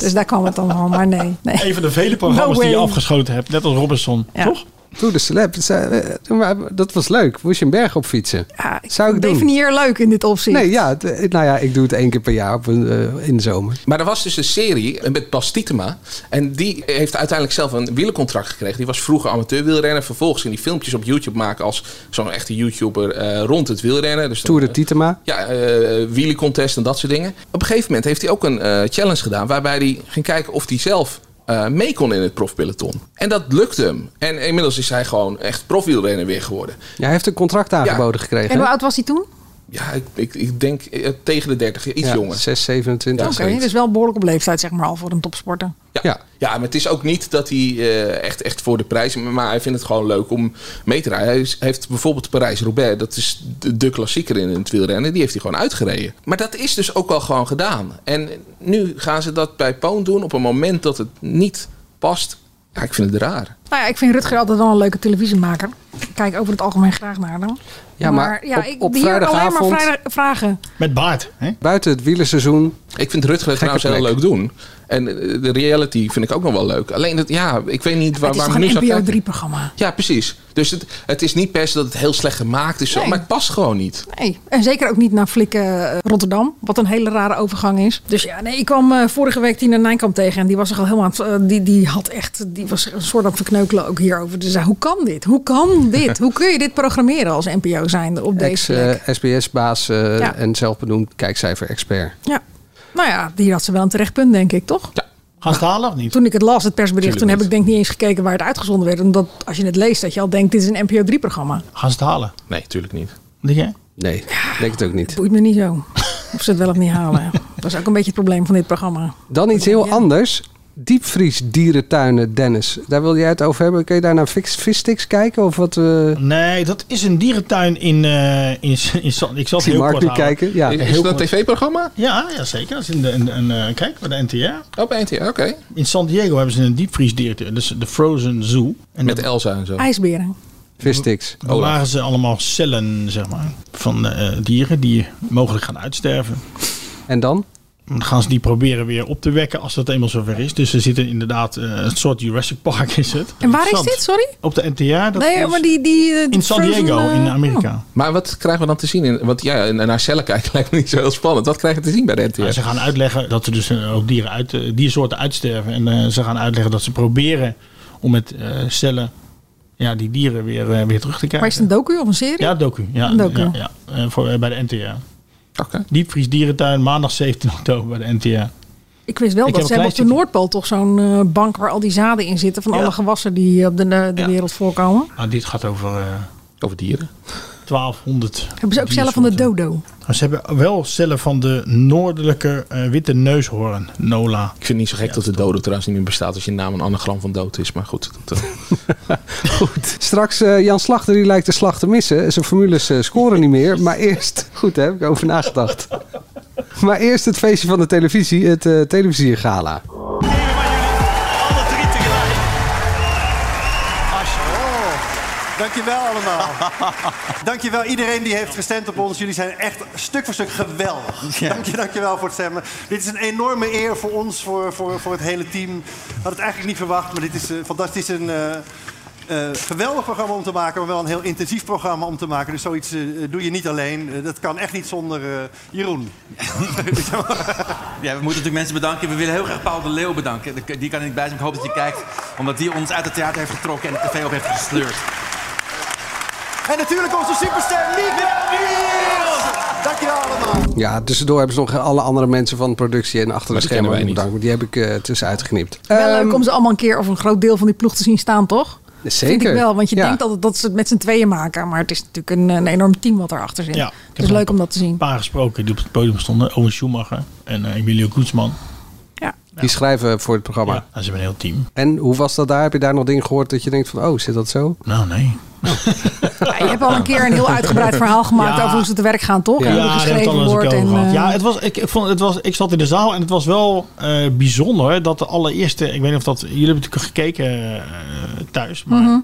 Speaker 6: Dus daar kwam het dan van, maar nee. nee.
Speaker 7: Een van de vele programma's
Speaker 6: No
Speaker 7: die je
Speaker 6: way.
Speaker 7: afgeschoten hebt. Net als Robinson,
Speaker 6: Ja.
Speaker 7: toch?
Speaker 5: Tour de Celeb. Het zei, eh, toen waren- Dat was leuk. Moest je een berg op fietsen?
Speaker 6: Ja, ik
Speaker 5: Zou ik doen?
Speaker 6: definieer leuk in dit opzicht.
Speaker 5: Nee, ja. het- eh, Nou ja, ik doe het één keer per jaar op een, eh, in de zomer.
Speaker 4: Maar er was dus een serie met Bas Tietema. En die heeft uiteindelijk zelf een wielercontract gekregen. Die was vroeger amateur wielrenner. Vervolgens ging die filmpjes op YouTube maken als zo'n echte YouTuber eh, rond het wielrennen. Dus dan-
Speaker 5: Tour de Titema.
Speaker 4: Ja, eh wielencontest en dat soort dingen. Op een gegeven moment heeft hij ook een eh, challenge gedaan... waarbij hij ging kijken of hij zelf eh, mee kon in het profpeloton. En dat lukte hem. En inmiddels is hij gewoon echt profwielrenner weer geworden.
Speaker 5: Ja, hij heeft een contract aangeboden gekregen.
Speaker 6: En hoe
Speaker 5: hè?
Speaker 6: oud was hij toen?
Speaker 4: Ja, ik, ik, ik denk eh, tegen de 30, iets
Speaker 5: ja,
Speaker 4: jonger.
Speaker 5: 6, 27.
Speaker 4: Ja,
Speaker 6: Oké,
Speaker 4: zoiets.
Speaker 6: dus wel behoorlijk op leeftijd zeg maar al voor een topsporter.
Speaker 4: Ja.
Speaker 5: Ja.
Speaker 4: Ja. maar het is ook niet dat hij eh, echt, echt voor de prijs... maar hij vindt het gewoon leuk om mee te rijden. Hij is- heeft bijvoorbeeld Parijs-Roubaix... dat is de, de klassieker in het wielrennen. Die heeft hij gewoon uitgereden. Maar dat is dus ook wel gewoon gedaan. En nu gaan ze dat bij Poon doen op een moment dat het niet past. Ja, ik vind het raar.
Speaker 6: Nou ja, ik vind Rutger altijd wel een leuke televisiemaker. Ik kijk over het algemeen graag naar hem.
Speaker 5: Ja, maar op-
Speaker 6: ik
Speaker 5: op
Speaker 6: beheer alleen
Speaker 5: vrijdagavond-
Speaker 6: maar vrijdag- vragen.
Speaker 7: Met baard. Hè?
Speaker 5: Buiten het wielerseizoen.
Speaker 4: Ik vind Rutger het
Speaker 5: Gekke
Speaker 4: trouwens heel
Speaker 5: plek.
Speaker 4: leuk doen. En eh, de reality vind ik ook nog wel leuk. Alleen, dat, ja, ik weet niet waar,
Speaker 6: het is
Speaker 4: waar
Speaker 6: toch
Speaker 4: we nu
Speaker 6: een
Speaker 4: zou
Speaker 6: NPO
Speaker 4: kijken.
Speaker 6: 3-programma?
Speaker 4: Ja, precies. Dus het, het is niet per se dat het heel slecht gemaakt is. zo,
Speaker 6: Nee.
Speaker 4: Maar het past gewoon niet.
Speaker 6: Nee, en zeker ook niet naar Flikken eh, Rotterdam, wat een hele rare overgang is. Dus ja, nee, ik kwam eh, vorige week Tina Nijkamp tegen en die was zich al helemaal aan het, eh, die, die had echt, die was een soort aan het verkneukelen ook hierover. Dus zei, hoe kan dit? Hoe kan dit? hoe kun je dit programmeren als NPO zijnde op deze plek?
Speaker 5: eh, Ex-SBS-baas
Speaker 6: Ja.
Speaker 5: en zelfbenoemd kijkcijfer-expert.
Speaker 6: Ja. Nou ja, die had ze wel een terecht punt, denk ik, toch?
Speaker 7: Gaan ze het halen of niet?
Speaker 6: Toen ik het las, het persbericht,
Speaker 7: Tuurlijk
Speaker 6: toen heb
Speaker 7: niet.
Speaker 6: ik denk niet eens gekeken waar het uitgezonden werd. Omdat als je het leest, dat je al denkt, dit is een NPO 3-programma.
Speaker 7: Gaan ze het halen?
Speaker 4: Nee, tuurlijk niet.
Speaker 7: Denk jij?
Speaker 5: Nee, denk het ook niet.
Speaker 6: Boeit me niet zo. Of ze het wel of niet halen. Dat is ook een beetje het probleem van dit programma.
Speaker 5: Dan iets heel anders. Diepvriesdierentuinen, Dennis. Daar wil jij het over hebben. Kun je daar naar vis- vissticks kijken? Of wat? eh
Speaker 7: Nee, dat is een dierentuin in... eh in, in, Zand- ik zal het
Speaker 5: zie
Speaker 7: heel
Speaker 5: Mark
Speaker 7: kort
Speaker 5: nu
Speaker 7: houden.
Speaker 5: kijken. Ja.
Speaker 4: Is, is
Speaker 7: heel
Speaker 4: dat een
Speaker 7: kort.
Speaker 4: tv-programma?
Speaker 7: Ja, ja, zeker. Dat is in de, een, een, eh, kijk, bij de NTR.
Speaker 4: Oh, bij NTR, oké.
Speaker 7: In San Diego hebben ze een diepvriesdierentuin. Dus de Frozen Zoo. En
Speaker 4: Met
Speaker 7: dat-
Speaker 4: Elsa en zo.
Speaker 6: IJsberen.
Speaker 5: Vissticks.
Speaker 7: Daar
Speaker 4: Olaf.
Speaker 7: lagen ze allemaal cellen, zeg maar, van eh, dieren die mogelijk gaan uitsterven.
Speaker 5: En dan?
Speaker 7: Dan gaan ze die proberen weer op te wekken als dat eenmaal zover is. Dus ze zitten inderdaad, eh, een soort Jurassic Park is het.
Speaker 6: En waar is
Speaker 7: Interessant.
Speaker 6: dit, sorry?
Speaker 7: Op de NTR. Dat
Speaker 6: nee,
Speaker 7: is
Speaker 6: maar die... die, eh, die
Speaker 7: in San
Speaker 6: Frozen,
Speaker 7: Diego,
Speaker 6: eh,
Speaker 7: in Amerika.
Speaker 4: Maar wat krijgen we dan te zien? In, want ja, naar cellen kijken [LAUGHS] lijkt me niet zo heel spannend. Wat krijgen we te zien bij de NTR?
Speaker 7: En ze gaan uitleggen dat er dus eh, ook dieren uit, eh, diersoorten uitsterven. En eh, ze gaan uitleggen dat ze proberen om met eh, cellen ja, die dieren weer, eh, weer terug te
Speaker 6: oh. Maar is het
Speaker 7: krijgen.
Speaker 6: een docu of een serie?
Speaker 7: ja, docu. Ja,
Speaker 6: Een docu.
Speaker 7: Ja, ja, eh, voor, eh, bij de NTR.
Speaker 4: Oké.
Speaker 7: Diepvries Dierentuin, maandag 17 [LAUGHS] oktober bij de NTR.
Speaker 6: Ik wist wel
Speaker 7: Ik
Speaker 6: dat
Speaker 7: heb
Speaker 6: ze
Speaker 7: een
Speaker 6: hebben op de
Speaker 7: klein
Speaker 6: Noordpool toch zo'n eh, bank waar al die zaden in zitten. Van
Speaker 7: Ja.
Speaker 6: alle gewassen die op de, eh, de
Speaker 7: Ja.
Speaker 6: wereld voorkomen.
Speaker 7: Maar dit gaat over eh,
Speaker 4: Over dieren.
Speaker 7: 1200.
Speaker 6: Hebben ze ook zelf van de
Speaker 7: diersoorten.
Speaker 6: dodo?
Speaker 7: Maar Ze hebben wel cellen van de noordelijke eh, witte neushoorn, Nola.
Speaker 4: Ik vind het niet zo gek dat de dodo trouwens niet meer bestaat als je naam een anagram van dood is. Maar goed, dat, eh,
Speaker 5: Straks eh, Jan Slachter, die lijkt de slag te missen. Zijn formules eh, scoren niet meer. Maar eerst, [LAUGHS] goed hè, heb ik over nagedacht. [LAUGHS] Maar eerst het feestje van de televisie, het eh televisiegala.
Speaker 10: Even van jullie, alle drie tegelijk.
Speaker 2: Dankjewel allemaal. Dankjewel iedereen die heeft gestemd op ons. Jullie zijn echt stuk voor stuk geweldig.
Speaker 10: Ja.
Speaker 2: Dank je, dankjewel voor het stemmen. Dit is een enorme eer voor ons, voor, voor, voor het hele team. Had het eigenlijk niet verwacht, maar dit is eh, fantastisch. Een eh, eh, geweldig programma om te maken, maar wel een heel intensief programma om te maken. Dus zoiets eh, doe je niet alleen. Eh, dat kan echt niet zonder eh, Jeroen.
Speaker 11: Ja, we moeten natuurlijk mensen bedanken. We willen heel graag Paul de Leeuw bedanken. De- Die kan er niet bij zijn. Ik hoop dat hij kijkt. Omdat hij ons uit het theater heeft getrokken en de tv op heeft gesleurd.
Speaker 2: En natuurlijk onze superster Nick Dank Dankjewel allemaal.
Speaker 5: Ja, tussendoor hebben ze nog alle andere mensen van productie en achter
Speaker 4: Maar
Speaker 5: de
Speaker 4: die
Speaker 5: schermen
Speaker 4: kennen wij niet.
Speaker 5: bedankt. Die heb ik eh, tussenuit geknipt.
Speaker 6: wel
Speaker 5: Ehm,
Speaker 6: leuk om ze allemaal een keer of een groot deel van die ploeg te zien staan, toch?
Speaker 5: Zeker.
Speaker 6: Vind ik wel, want je
Speaker 5: Ja.
Speaker 6: denkt altijd dat ze het met z'n tweeën maken. Maar het is natuurlijk een, een enorm team wat erachter zit.
Speaker 7: Ja, ik heb
Speaker 6: dus
Speaker 7: wel
Speaker 6: leuk om dat te zien.
Speaker 7: Een paar gesproken die op het podium stonden. Owen Schumacher en eh, Emilio Koetsman.
Speaker 5: Die schrijven voor het programma.
Speaker 7: Ja, ze hebben een heel team.
Speaker 5: En hoe was dat daar? Heb je daar nog dingen gehoord dat je denkt van, oh, zit dat zo?
Speaker 7: Nou, nee.
Speaker 6: Ja, je hebt al een keer een heel uitgebreid verhaal gemaakt
Speaker 7: [LAUGHS] Ja.
Speaker 6: over hoe ze te werk gaan, toch?
Speaker 5: Ja,
Speaker 6: En hoe
Speaker 7: dat
Speaker 6: er
Speaker 7: heeft
Speaker 6: geschreven
Speaker 7: al eens een
Speaker 6: wordt.
Speaker 7: keer
Speaker 6: en,
Speaker 7: over gehad.
Speaker 6: eh,
Speaker 7: Ja, het was, ik, ik, vond, het was, ik zat in de zaal en het was wel eh, bijzonder dat de allereerste, ik weet niet of dat, jullie hebben natuurlijk gekeken eh, thuis, maar
Speaker 6: Mhm.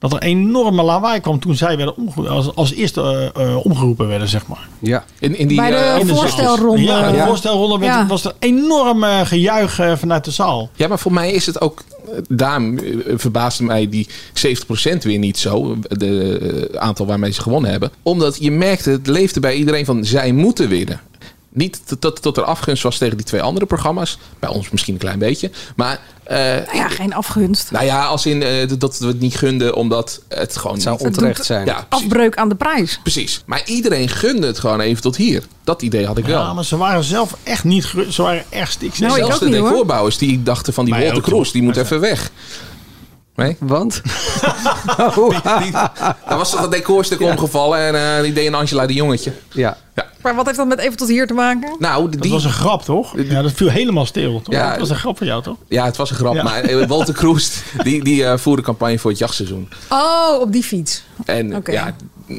Speaker 7: dat er enorme lawaai kwam toen zij werden omge- als, als eerste eh, eh, omgeroepen werden, zeg maar.
Speaker 5: Ja.
Speaker 4: in, in die,
Speaker 6: Bij de
Speaker 4: eh,
Speaker 7: In de zaal.
Speaker 6: voorstelronde.
Speaker 7: Ja, in de
Speaker 5: Ja.
Speaker 7: voorstelronde werd-
Speaker 6: Ja.
Speaker 7: was er enorm eh, gejuich eh, vanuit de zaal.
Speaker 4: Ja, maar voor mij is het ook. Daarom eh, verbaasde mij die 70% weer niet zo. De eh, aantal waarmee ze gewonnen hebben. Omdat je merkte, het leefde bij iedereen van zij moeten winnen. Niet dat- dat dat er afgunst was tegen die twee andere programma's. Bij ons misschien een klein beetje. Maar eh,
Speaker 6: nou ja, geen afgunst.
Speaker 4: nou ja, als in eh, dat we het niet gunden omdat het gewoon.
Speaker 5: Het zou
Speaker 4: niet-
Speaker 5: onterecht zijn.
Speaker 4: Ja, precies,
Speaker 6: Afbreuk aan de prijs.
Speaker 4: precies. Maar iedereen gunde het gewoon even tot hier. Dat idee had ik wel.
Speaker 7: Ja, maar ze waren zelf echt niet gerust. Ze waren echt stik.
Speaker 6: Nou, ik
Speaker 4: Zelfs
Speaker 6: ook
Speaker 4: de
Speaker 6: niet, hoor.
Speaker 4: decorbouwers die dachten van die
Speaker 7: Mij
Speaker 4: Walter
Speaker 7: ook, hoor.
Speaker 4: Cross, die moet even weg. Nee? [LAUGHS]
Speaker 5: Want? Oh,
Speaker 4: Daar was toch een decorstuk omgevallen en eh, die deed een Angela de Jongetje.
Speaker 5: ja.
Speaker 6: Maar wat heeft dat met even tot hier te maken?
Speaker 4: Nou,
Speaker 7: Dat
Speaker 4: die,
Speaker 7: was een grap, toch? Ja, dat viel helemaal stil, toch?
Speaker 4: Ja.
Speaker 7: dat was een grap voor jou, toch?
Speaker 4: ja, het was een grap,
Speaker 7: Ja.
Speaker 4: maar eh, Walter Kroes die, die eh, voerde campagne voor het jachtseizoen.
Speaker 6: Oh, op die fiets.
Speaker 4: En
Speaker 6: Oké.
Speaker 4: ja,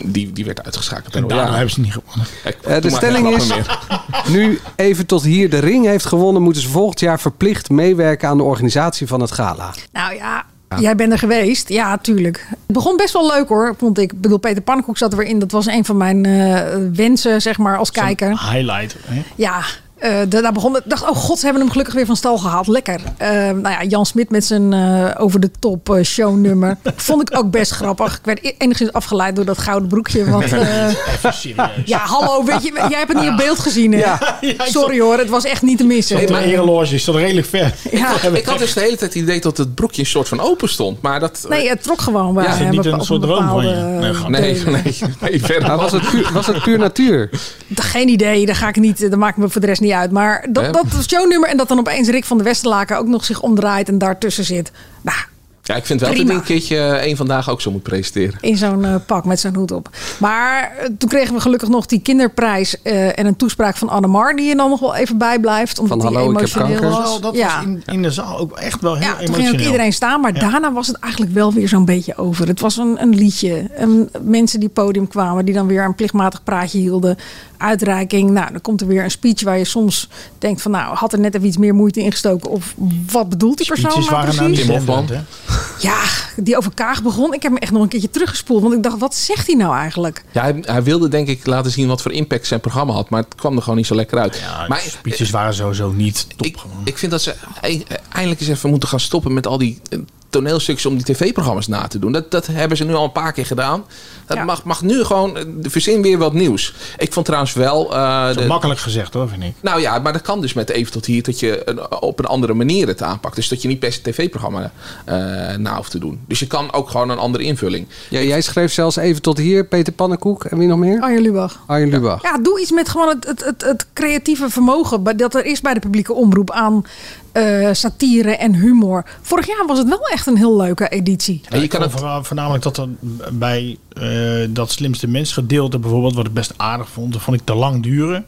Speaker 4: die, die werd uitgeschakeld.
Speaker 7: En Eh,
Speaker 4: daardoor.
Speaker 7: daardoor
Speaker 4: Ja,
Speaker 7: hebben ze niet gewonnen.
Speaker 4: ik-
Speaker 5: de
Speaker 4: toen maakte ik
Speaker 5: stelling
Speaker 4: geen
Speaker 5: is-
Speaker 4: grappen
Speaker 7: [LAUGHS]
Speaker 4: meer.
Speaker 5: Nu even tot hier de ring heeft gewonnen, moeten ze volgend jaar verplicht meewerken aan de organisatie van het gala.
Speaker 6: Nou ja, jij bent er geweest. Ja, tuurlijk. Het begon best wel leuk hoor, vond ik. Ik bedoel, Peter Pannenkoek zat er weer in. Dat was een van mijn eh, wensen, zeg maar, als kijker.
Speaker 7: Highlight. Hè?
Speaker 6: Ja, eh, da- daar begon het. Ik dacht, oh god, ze hebben hem gelukkig weer van stal gehaald. Lekker. Eh, nou ja, Jan Smit met zijn eh, over de top eh, shownummer. [LAUGHS] Vond ik ook best grappig. Ik werd e- enigszins afgeleid door dat gouden broekje. Want, eh,
Speaker 7: Even serieus.
Speaker 6: ja, hallo, weet je, jij hebt het niet op beeld gezien. Hè? [LAUGHS]
Speaker 7: ik zat-
Speaker 6: Sorry hoor, het was echt niet te missen.
Speaker 7: Nee, maar ereloge is dat redelijk ver. [LAUGHS]
Speaker 6: Ja.
Speaker 4: Ik had dus de hele tijd het idee dat het broekje een soort van open stond. Maar dat...
Speaker 6: Nee, het trok gewoon eh, bij
Speaker 4: Ja, is
Speaker 7: het niet
Speaker 6: bepa-
Speaker 7: een
Speaker 6: op
Speaker 7: soort droom van je? Nee, grap.
Speaker 4: nee,
Speaker 6: delen.
Speaker 4: [LAUGHS]
Speaker 6: [LAUGHS]
Speaker 4: nee, nee, verder.
Speaker 5: Maar was het puur, was het puur natuur?
Speaker 6: Geen idee, daar ga ik niet, dat maakt me voor de rest niet uit. Maar
Speaker 4: Ja.
Speaker 6: dat, dat shownummer en dat dan opeens Rick van de Westerlaken ook nog zich omdraait en daartussen zit. Nou,
Speaker 4: Ja, ik vind wel dat
Speaker 6: Prima.
Speaker 4: ik een keertje eh, één vandaag ook zo moet presenteren.
Speaker 6: in zo'n eh, pak met zo'n hoed op. Maar eh, toen kregen we gelukkig nog die kinderprijs eh, en een toespraak van Annemar die er dan nog wel even bij blijft. Omdat
Speaker 5: Van,
Speaker 6: die
Speaker 5: "Hallo, ik heb
Speaker 6: emotioneel
Speaker 5: kanker."
Speaker 6: was.
Speaker 7: dat
Speaker 6: ja.
Speaker 7: was in, in de zaal ook echt wel heel
Speaker 6: ja, toen ging
Speaker 7: emotioneel.
Speaker 6: ook iedereen staan, maar daarna was het eigenlijk wel weer zo'n beetje over. Het was een, een liedje, en mensen die podium kwamen, die dan weer een plichtmatig praatje hielden, uitreiking. Nou, dan komt er weer een speech waar je soms denkt van, nou, had er net even iets meer moeite in gestoken of wat bedoelt die persoon
Speaker 7: Speeches
Speaker 6: nou
Speaker 7: waren nou
Speaker 6: precies?
Speaker 7: niet
Speaker 4: Tim Hofman.
Speaker 7: zendend, hè?
Speaker 6: Ja, die over Kaag begon. Ik heb hem echt nog een keertje teruggespoeld, want ik dacht, wat zegt hij nou eigenlijk?
Speaker 4: Ja, hij, hij wilde denk ik laten zien wat voor impact zijn programma had. Maar het kwam er gewoon niet zo lekker uit.
Speaker 7: Ja,
Speaker 4: maar,
Speaker 7: de speeches waren sowieso niet top.
Speaker 4: Ik,
Speaker 7: gewoon.
Speaker 4: ik vind dat ze e- eindelijk eens even moeten gaan stoppen met al die eh, toneelstukjes om die tv-programma's na te doen. Dat, dat hebben ze nu al een paar keer gedaan. Dat
Speaker 6: Ja.
Speaker 4: mag, mag nu gewoon, eh, verzin weer wat nieuws. Ik vond trouwens wel... eh,
Speaker 7: Dat is
Speaker 4: de-
Speaker 7: makkelijk gezegd hoor, vind ik.
Speaker 4: nou ja, maar dat kan dus met even tot hier dat je een- op een andere manier het aanpakt. Dus dat je niet per se tv-programma eh na hoeft te doen. Dus je kan ook gewoon een andere invulling.
Speaker 5: Ja, jij schreef zelfs even tot hier, Peter Pannenkoek en wie nog meer?
Speaker 6: Arjen Lubach.
Speaker 5: Arjen Lubach.
Speaker 6: Ja, doe iets met gewoon het, het, het, het creatieve vermogen bij- dat er is bij de publieke omroep aan eh, eh, satire en humor. Vorig jaar was het wel echt een heel leuke editie.
Speaker 7: je kan het... Voornamelijk dat er bij eh, dat slimste mens gedeelte bijvoorbeeld, wat ik best aardig vond, dat vond ik te lang duren.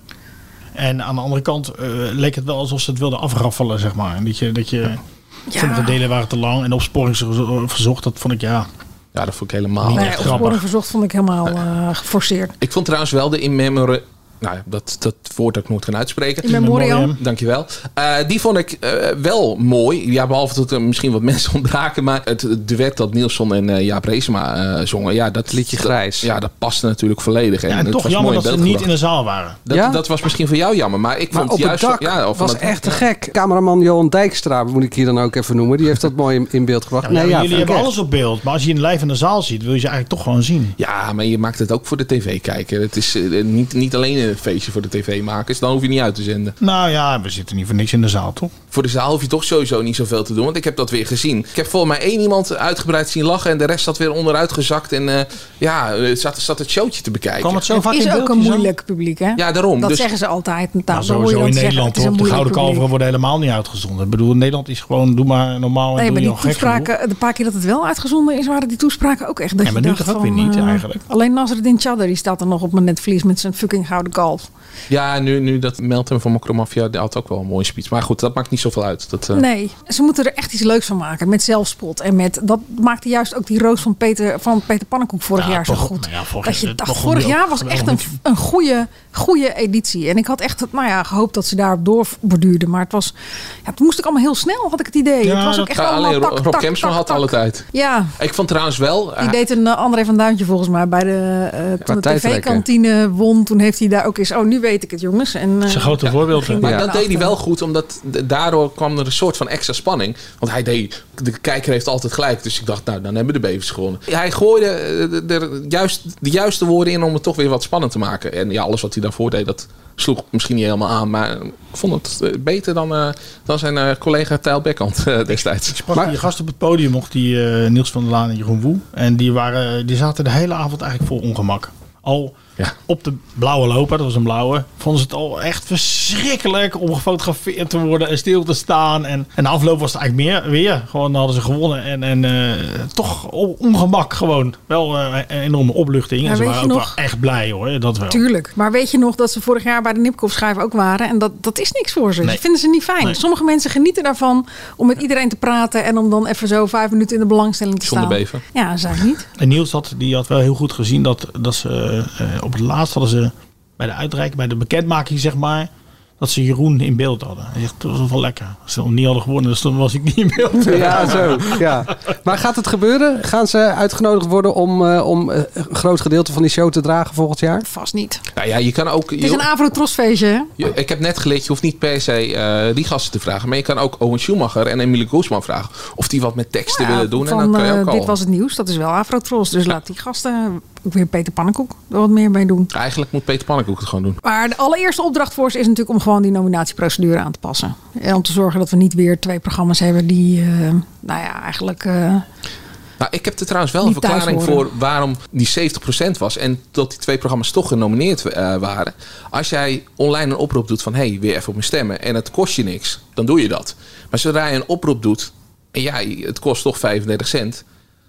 Speaker 7: En aan de andere kant eh, leek het wel alsof ze het wilden afraffelen, zeg maar. En Dat je, dat je
Speaker 6: Nou
Speaker 7: sommige delen waren te lang en opsporingsverzocht, dat vond ik ja.
Speaker 4: Ja, dat vond ik helemaal
Speaker 7: niet
Speaker 6: Nee,
Speaker 7: echt
Speaker 6: Opsporing
Speaker 7: grappig.
Speaker 6: Verzocht vond ik helemaal eh, geforceerd.
Speaker 4: Ik vond trouwens wel de in memory... Nou, ja, dat, dat woord dat ik nooit kan uitspreken.
Speaker 6: In memoriam.
Speaker 4: Dankjewel. Eh die vond ik eh, wel mooi. Ja, behalve dat er misschien wat [LAUGHS] mensen ontbraken. Maar het, het duet dat Nielsen en eh, Jaap Reesema eh, zongen. Ja, dat
Speaker 5: Liedje grijs.
Speaker 4: Ja, dat paste natuurlijk volledig.
Speaker 7: Ja,
Speaker 4: het
Speaker 7: en toch
Speaker 4: was
Speaker 7: jammer
Speaker 4: mooi
Speaker 7: dat ze
Speaker 4: beeld
Speaker 7: niet in
Speaker 4: gebracht.
Speaker 7: de zaal waren.
Speaker 4: Dat,
Speaker 5: Ja?
Speaker 4: dat was misschien voor jou jammer. Maar ik
Speaker 5: Maar
Speaker 4: vond
Speaker 5: op
Speaker 4: juist...
Speaker 5: het dak
Speaker 4: ja, of
Speaker 5: was
Speaker 4: dat-
Speaker 5: echt te gek. Cameraman Johan Dijkstra moet ik hier dan ook even noemen. Die heeft dat mooi in, in beeld gebracht.
Speaker 7: Nou, ja,
Speaker 5: nee,
Speaker 7: jullie
Speaker 5: ja, vind
Speaker 7: hebben
Speaker 5: ik
Speaker 7: alles op beeld, maar als je een lijf in de zaal ziet, wil je ze eigenlijk toch gewoon zien.
Speaker 4: Ja, maar je maakt het ook voor de tv-kijker. Het is eh, niet, niet alleen een feestje voor de tv-makers. Dan hoef je niet uit te zenden.
Speaker 7: Nou ja, we zitten niet voor niks in de zaal, toch?
Speaker 4: Voor de zaal hoef je toch sowieso niet zoveel te doen. Want ik heb dat weer gezien. Ik heb volgens mij één iemand uitgebreid zien lachen. En de rest zat weer onderuit gezakt. En eh, ja, eh, zat, zat het showtje te bekijken.
Speaker 7: Kwam het zo vaak Oh, in
Speaker 6: Is ook een
Speaker 7: beeldjes aan?
Speaker 6: moeilijk publiek, hè?
Speaker 4: Ja, daarom.
Speaker 6: Dat
Speaker 4: dus
Speaker 6: zeggen ze altijd. Nou,
Speaker 7: Nou,
Speaker 6: dan hoor je
Speaker 7: sowieso
Speaker 6: dat
Speaker 7: in
Speaker 6: zeggen.
Speaker 7: Nederland
Speaker 6: Het is
Speaker 7: toch?
Speaker 6: een
Speaker 7: De Gouden
Speaker 6: moeilijk publiek.
Speaker 7: Kalveren worden helemaal niet uitgezonden. Ik bedoel, Nederland is gewoon, doe maar normaal en
Speaker 6: Nee,
Speaker 7: doe
Speaker 6: maar
Speaker 7: je
Speaker 6: die
Speaker 7: al gek genoeg.
Speaker 6: toespraken, de paar keer dat het wel uitgezonden is, waren die toespraken ook echt. Dat
Speaker 7: Ja, maar
Speaker 6: je
Speaker 7: nu
Speaker 6: dacht
Speaker 7: toch ook
Speaker 6: van,
Speaker 7: weer niet,
Speaker 6: eh,
Speaker 7: eigenlijk.
Speaker 6: Alleen Nasreddin Chadder die staat er nog op mijn netvlies met zijn fucking gouden kalf.
Speaker 4: ja, nu, nu dat Meltem van Macromafia die had ook wel een mooie speech. Maar goed, dat maakt niet zoveel uit. Dat, eh,
Speaker 6: Nee, ze moeten er echt iets leuks van maken. Met zelfspot en met. Dat maakte juist ook die roos van Peter, van Peter Pannenkoek vorig
Speaker 7: Ja,
Speaker 6: jaar
Speaker 7: toch,
Speaker 6: zo goed.
Speaker 7: nou ja, vorig
Speaker 6: dat je
Speaker 7: jaar-
Speaker 6: dacht,
Speaker 7: toch
Speaker 6: vorig
Speaker 7: wel-
Speaker 6: jaar was
Speaker 7: wel
Speaker 6: echt
Speaker 7: een
Speaker 6: een, een goede, goede editie. En ik had echt nou ja, gehoopt dat ze daarop doorborduurden. Maar het was. Ja, het moest ook allemaal heel snel, had ik het idee.
Speaker 7: Ja,
Speaker 6: het was ook
Speaker 7: dat- eh,
Speaker 6: echt
Speaker 4: ja,
Speaker 6: allemaal.
Speaker 4: alleen
Speaker 6: tak,
Speaker 4: Rob
Speaker 6: tak,
Speaker 4: Kemps
Speaker 6: tak,
Speaker 4: had
Speaker 6: tak.
Speaker 4: alle tijd.
Speaker 6: Ja,
Speaker 4: Ik vond trouwens wel...
Speaker 6: Die
Speaker 4: eh,
Speaker 6: deed een eh, André van Duintje volgens mij bij de, eh, toen de
Speaker 5: tijdrekker.
Speaker 6: tv-kantine won. Toen heeft hij daar ook eens, oh nu weet ik het jongens. En, eh,
Speaker 7: Dat is een grote voorbeeld. hè?
Speaker 6: ging
Speaker 4: Maar
Speaker 6: hij
Speaker 4: dat deed hij
Speaker 6: erachter.
Speaker 4: wel goed, omdat d- daardoor kwam er een soort van extra spanning. Want hij deed, de kijker heeft altijd gelijk. Dus ik dacht, nou, dan hebben de bevers gewonnen. Hij gooide eh, de, de- juist, de juiste woorden in om het toch weer wat spannend te maken. En ja, alles wat hij daarvoor deed, dat sloeg misschien niet helemaal aan. Maar ik vond het eh, beter dan, eh, dan zijn eh, collega Tijl Bekkant eh, destijds.
Speaker 7: Ik sprak die gast op het podium, nog die eh, Niels van der Laan en Jeroen Woe. En die, waren, die zaten de hele avond eigenlijk vol ongemak. Al
Speaker 4: Ja.
Speaker 7: op de blauwe loper, dat was een blauwe, vonden ze het al echt verschrikkelijk om gefotografeerd te worden en stil te staan. En, en de afloop was het eigenlijk meer, weer. Gewoon dan hadden ze gewonnen en, en eh, toch on- ongemak gewoon. Wel eh, een enorme opluchting.
Speaker 6: Ja,
Speaker 7: en ze
Speaker 6: weet
Speaker 7: waren ook
Speaker 6: je nog?
Speaker 7: wel echt blij hoor, dat wel.
Speaker 6: Tuurlijk. Maar weet je nog dat ze vorig jaar bij de Nipkoff-schijven ook waren? En dat, dat is niks voor ze.
Speaker 7: Nee.
Speaker 6: Dat vinden ze niet fijn.
Speaker 7: Nee.
Speaker 6: Sommige mensen genieten daarvan om met iedereen te praten. En om dan even zo vijf minuten in de belangstelling te
Speaker 4: Zonder
Speaker 6: staan.
Speaker 4: beven.
Speaker 6: Ja, zij niet.
Speaker 7: En Niels had, die had wel heel goed gezien dat, dat ze eh, op het laatst hadden ze bij de uitreiking, bij de bekendmaking zeg maar, dat ze Jeroen in beeld hadden. Hij zegt, dat was wel lekker. Als ze nog niet hadden gewonnen, dus dan was ik niet in
Speaker 4: [LAUGHS]
Speaker 7: beeld.
Speaker 5: echt. Ja, zo. Ja. Maar gaat het gebeuren? Gaan ze uitgenodigd worden om, eh, om eh, een groot gedeelte van die show te dragen volgend jaar?
Speaker 6: Vast niet.
Speaker 4: Nou ja, je kan ook...
Speaker 6: Het is
Speaker 4: je-
Speaker 6: een Avrotros-feestje. hè?
Speaker 4: Je- ik heb net geleerd, je hoeft niet per se eh, die gasten te vragen. Maar je kan ook Owen Schumacher en Emile Guzman vragen. Of die wat met teksten
Speaker 6: Ja,
Speaker 4: willen doen.
Speaker 6: van,
Speaker 4: en dan kan je
Speaker 6: eh,
Speaker 4: ook al...
Speaker 6: Dit was het nieuws. Dat is wel Avrotros. Dus laat die gasten, ook weer Peter Pannenkoek, er wat meer mee doen.
Speaker 4: Eigenlijk moet Peter Pannenkoek het gewoon doen.
Speaker 6: Maar de allereerste opdracht voor ze is natuurlijk om gewoon die nominatieprocedure aan te passen. En om te zorgen dat we niet weer twee programma's hebben die, eh, nou ja, eigenlijk. eh,
Speaker 4: Nou, ik heb er trouwens wel een
Speaker 6: Niet thuis
Speaker 4: verklaring
Speaker 6: horen.
Speaker 4: voor waarom die 70% was. En dat die twee programma's toch genomineerd eh, waren. Als jij online een oproep doet van... hé, hey, weer even op mijn stemmen. En het kost je niks. Dan doe je dat. Maar zodra je een oproep doet... en ja, het kost toch 35 cent...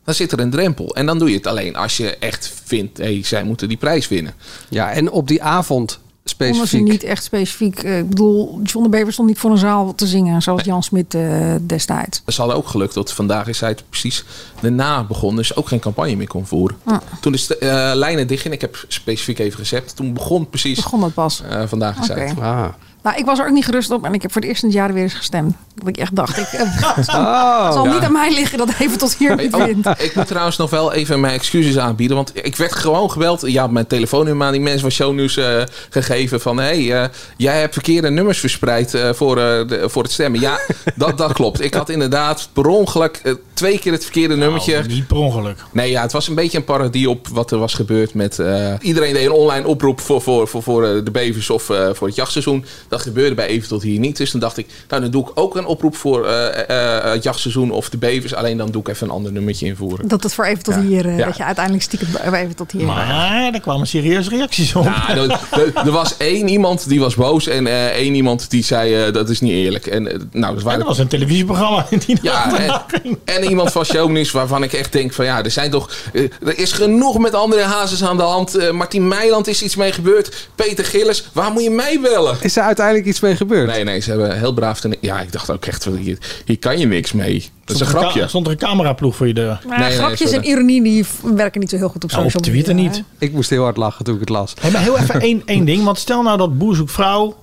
Speaker 4: dan zit er een drempel. En dan doe je het alleen als je echt vindt... hé, hey, zij moeten die prijs winnen.
Speaker 5: Ja, en op die avond
Speaker 6: omdat ze
Speaker 5: specifiek.
Speaker 6: niet echt specifiek. eh, ik bedoel, John de Bever stond niet voor een zaal te zingen, zoals Jan Smit eh, destijds.
Speaker 4: Ze hadden ook gelukt dat vandaag is hij precies daarna begonnen. Dus ook geen campagne meer kon voeren. Toen de st- eh, lijnen dichtgingen, ik heb specifiek even gezet. Toen begon precies
Speaker 6: Begon dat pas.
Speaker 4: eh, vandaag is
Speaker 6: Oké.
Speaker 4: hij.
Speaker 5: Ah.
Speaker 6: Nou, ik was er ook niet gerust op en ik heb voor het eerst in het jaar weer eens gestemd. Dat ik echt dacht, ik, eh, het zal, het zal niet aan mij liggen dat even tot hier
Speaker 4: Hey, oh,
Speaker 6: begint.
Speaker 4: ik moet trouwens nog wel even mijn excuses aanbieden. Want ik werd gewoon gebeld. Ja, mijn telefoonnummer aan die mensen van Shownieuws eh gegeven. Van hé, hey, eh, jij hebt verkeerde nummers verspreid eh, voor, eh, de- voor het stemmen. Ja, dat, dat klopt. Ik had inderdaad per ongeluk eh, twee keer het verkeerde nummertje.
Speaker 7: Nou, Niet per ongeluk.
Speaker 4: Nee, ja, het was een beetje een parodie op wat er was gebeurd met... eh, iedereen deed een online oproep voor, voor, voor, voor eh, de bevers of eh, voor het jachtseizoen. Dat gebeurde bij Even tot hier niet. Dus dan dacht ik, nou dan doe ik ook een oproep voor eh, eh, het jachtseizoen of de bevers. Alleen dan doe ik even een ander nummertje invoeren.
Speaker 6: Dat het voor even tot
Speaker 4: Ja.
Speaker 6: hier, eh,
Speaker 4: Ja.
Speaker 6: dat je uiteindelijk stiekem eh, even tot hier.
Speaker 7: Maar er kwamen serieuze reacties op.
Speaker 4: Ja, er, er- er was één iemand die was boos en eh, één iemand die zei eh, dat is niet eerlijk. En, eh, nou, dat
Speaker 7: [LAUGHS] En
Speaker 4: waren
Speaker 7: dat was een televisieprogramma. [LAUGHS] Die
Speaker 6: [LAUGHS]
Speaker 4: Ja, en, en iemand van Shownieuws waarvan ik echt denk van ja, er zijn toch... eh, er is genoeg met andere hazes aan de hand. Eh, Martien Meiland is iets mee gebeurd. Peter Gillis, waar moet je mij
Speaker 5: Is
Speaker 4: bellen?
Speaker 5: er uiteindelijk iets mee gebeurd?
Speaker 4: Nee, nee, ze hebben heel braaf... Ten, ja, ik dacht ook echt, wel, hier, hier kan je niks mee. Dat is een
Speaker 7: Stond er ka-
Speaker 4: grapje.
Speaker 7: Stond er een cameraploeg voor je deur?
Speaker 4: Nee,
Speaker 6: Maar
Speaker 4: nee,
Speaker 6: Eh, grapjes
Speaker 4: sorry.
Speaker 6: en ironie die f- werken niet zo heel goed op
Speaker 7: Nou, op
Speaker 6: social
Speaker 7: Twitter
Speaker 6: media,
Speaker 7: niet.
Speaker 6: hè?
Speaker 5: Ik moest heel hard lachen toen ik het las.
Speaker 7: Hey, maar heel even [LAUGHS] één, één ding. Want stel nou dat Boer zoekt vrouw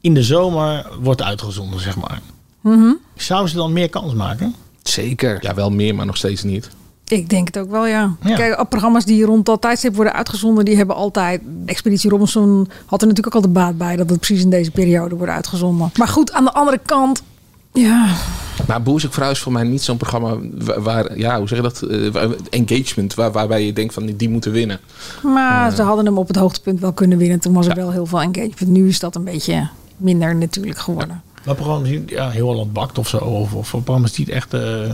Speaker 7: in de zomer wordt uitgezonden, zeg maar. Zou ze dan meer kans maken?
Speaker 5: Zeker.
Speaker 4: Ja, wel meer, maar nog steeds niet.
Speaker 6: Ik denk het ook wel, ja.
Speaker 7: Ja.
Speaker 6: Kijk, eh, programma's die rond dat tijdstip worden uitgezonden, die hebben altijd... Expeditie Robinson had er natuurlijk ook altijd baat bij dat het precies in deze periode wordt uitgezonden. Maar goed, aan de andere kant... Ja,
Speaker 4: Maar Boer zoekt Vrouw is voor mij niet zo'n programma wa- waar... Ja, hoe zeg je dat? Eh, waar- engagement, waar, waarbij je denkt van die moeten winnen.
Speaker 6: maar ze hadden hem op het hoogtepunt wel kunnen winnen. Toen was er wel heel veel engagement. Nu is dat een beetje minder natuurlijk geworden.
Speaker 7: Maar programma's die ja, heel Holland bakt of zo. Of, of programma's die het echt... eh,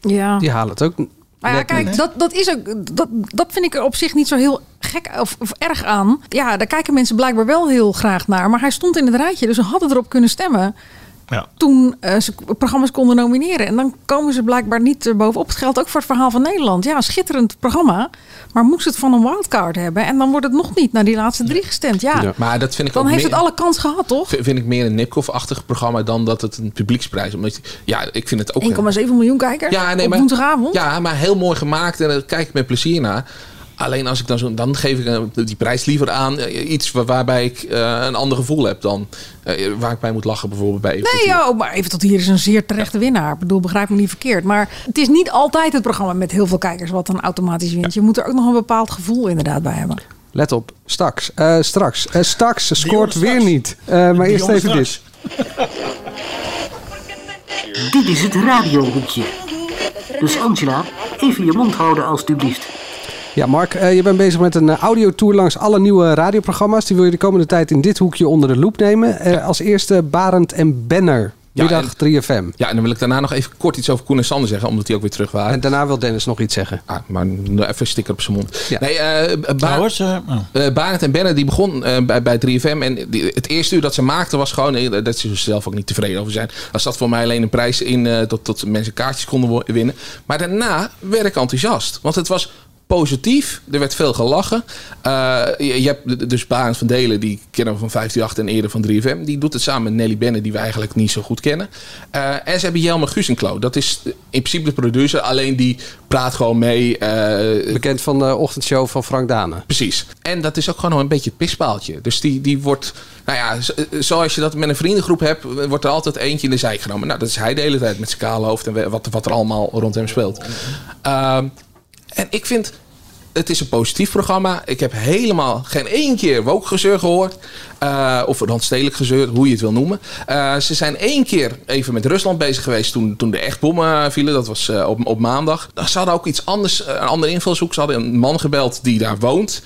Speaker 6: Ja.
Speaker 5: Die halen het ook.
Speaker 6: Maar ja,
Speaker 5: net
Speaker 6: kijk,
Speaker 5: niet.
Speaker 6: dat, dat, is ook, dat, dat vind ik er op zich niet zo heel gek of, of erg aan. Ja, daar kijken mensen blijkbaar wel heel graag naar. Maar hij stond in het rijtje, dus ze hadden erop kunnen stemmen.
Speaker 7: ja.
Speaker 6: Toen eh, ze programma's konden nomineren. En dan komen ze blijkbaar niet eh, bovenop. Het geldt ook voor het verhaal van Nederland. Ja, schitterend programma. Maar moest het van een wildcard hebben. En dan wordt het nog niet naar die laatste drie gestemd. Ja,
Speaker 5: Ja.
Speaker 4: Maar dat vind ik
Speaker 6: dan
Speaker 4: ook
Speaker 6: heeft
Speaker 4: meer-
Speaker 6: het alle kans gehad, toch?
Speaker 4: vind vind ik meer een Nipkoff-achtig programma dan dat het een publieksprijs is. Omdat je- ja, ik vind het ook...
Speaker 6: 1,7 miljoen kijkers
Speaker 4: ja, nee,
Speaker 6: op
Speaker 4: maar,
Speaker 6: woensdagavond.
Speaker 4: Ja, maar heel mooi gemaakt en daar kijk ik met plezier naar. Alleen als ik dan zo, dan geef ik eh, die prijs liever aan eh, iets waar- waarbij ik eh, een ander gevoel heb dan eh, waar ik bij moet lachen bijvoorbeeld bij. Even
Speaker 6: Nee,
Speaker 4: Tot Hier.
Speaker 6: ja, maar even tot hier is een zeer terechte winnaar. Ik bedoel, begrijp me niet verkeerd. Maar het is niet altijd het programma met heel veel kijkers wat dan automatisch wint. Je moet er ook nog een bepaald gevoel inderdaad bij hebben.
Speaker 5: Let op. Staks. Eh, straks. Eh, Staks scoort
Speaker 7: jongen
Speaker 5: weer
Speaker 7: straks.
Speaker 5: niet. Eh, maar eerst
Speaker 7: jongen
Speaker 5: even dit.
Speaker 7: straks.
Speaker 12: Dit is het radiohoekje. Dus Angela, even je mond houden alstublieft.
Speaker 5: Ja, Mark, eh, je bent bezig met een eh, audiotour langs alle nieuwe radioprogramma's. Die wil je de komende tijd in dit hoekje onder de loep nemen. Eh, als eerste Barend en Benner.
Speaker 4: Ja,
Speaker 5: Middag 3FM.
Speaker 4: Ja, en dan wil ik daarna nog even kort iets over Koen en Sander zeggen, omdat die ook weer terug waren.
Speaker 5: En daarna wil Dennis nog iets zeggen.
Speaker 4: Ah, maar even sticker op zijn mond.
Speaker 5: Ja. Nou,
Speaker 4: Nee, eh, Ba-
Speaker 7: Trouwens, eh, oh.
Speaker 4: Eh Barend en Benne die begon eh, bij, bij 3FM. En die- het eerste uur dat ze maakten was gewoon... eh, dat ze zelf ook niet tevreden over zijn. Als dat voor mij alleen een prijs in... eh tot, tot mensen kaartjes konden wo- winnen. Maar daarna werd ik enthousiast. Want het was positief. Er werd veel gelachen. Eh, je, je hebt dus Barend van Delen. Die kennen we van 538 en eerder van 3FM. Die doet het samen met Nelly Benne. Die we eigenlijk niet zo goed kennen. Eh, en ze hebben Jelmer Guzenklo. Dat is in principe de producer. Alleen die praat gewoon mee. eh,
Speaker 5: Bekend van de ochtendshow van Frank Dane.
Speaker 4: Precies. En dat is ook gewoon een beetje het pispaaltje. Dus die, die wordt, nou ja, z- zoals je dat met een vriendengroep hebt, eh, wordt er altijd eentje in de zijk genomen. Nou, dat is hij de hele tijd met zijn kale hoofd en we- wat, wat er allemaal rond hem speelt. Ehm, en ik vind, het is een positief programma. Ik heb helemaal geen één keer wokgezeur gehoord. Eh, of randstedelijk gezeur, hoe je het wil noemen. Eh, ze zijn één keer even met Rusland bezig geweest toen, toen de echtbommen vielen. Dat was eh, op, op maandag. Ze hadden ook iets anders, eh, een andere invalshoek. Ze hadden een man gebeld die daar woont.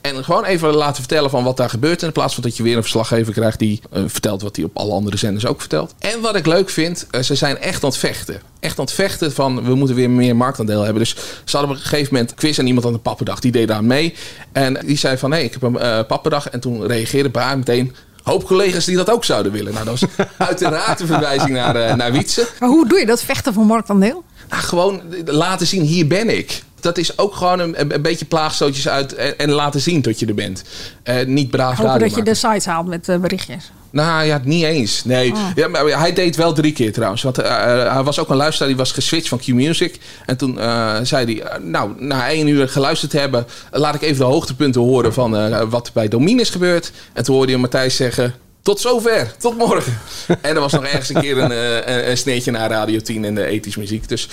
Speaker 4: En gewoon even laten vertellen van wat daar gebeurt. In plaats van dat je weer een verslaggever krijgt die eh, vertelt wat hij op alle andere zenders ook vertelt. En wat ik leuk vind, eh, ze zijn echt aan het vechten. Echt aan het vechten van we moeten weer meer marktaandeel hebben. Dus ze hadden op een gegeven moment een quiz en iemand aan de pappendag. Die deed daar mee. En die zei van hé, hey, ik heb een eh, pappendag. En toen reageerde Baar meteen. Hoop collega's die dat ook zouden willen. Nou, dat was uiteraard een verwijzing naar, eh, naar Wietse.
Speaker 6: Maar hoe doe je dat vechten voor marktaandeel?
Speaker 4: Nou, gewoon laten zien, hier ben ik. Dat is ook gewoon een, een beetje plaagstootjes uit en, en laten zien dat je er bent. Eh, niet braaf
Speaker 6: Hopen
Speaker 4: radio
Speaker 6: dat je
Speaker 4: maken.
Speaker 6: de sites haalt met eh, berichtjes.
Speaker 4: Nou ja, niet eens. Nee. Ja, maar hij deed wel drie keer trouwens. Want eh, eh, hij was ook een luisteraar die was geswitcht van Q-Music. En toen eh, zei hij, eh, nou, na één uur geluisterd te hebben... eh, laat ik even de hoogtepunten horen van eh, wat bij Domine is gebeurd. En toen hoorde je Matthijs zeggen... Tot zover, tot morgen. En er was nog ergens een keer een, eh, een, een sneetje naar Radio 10 en de ethisch muziek. Dus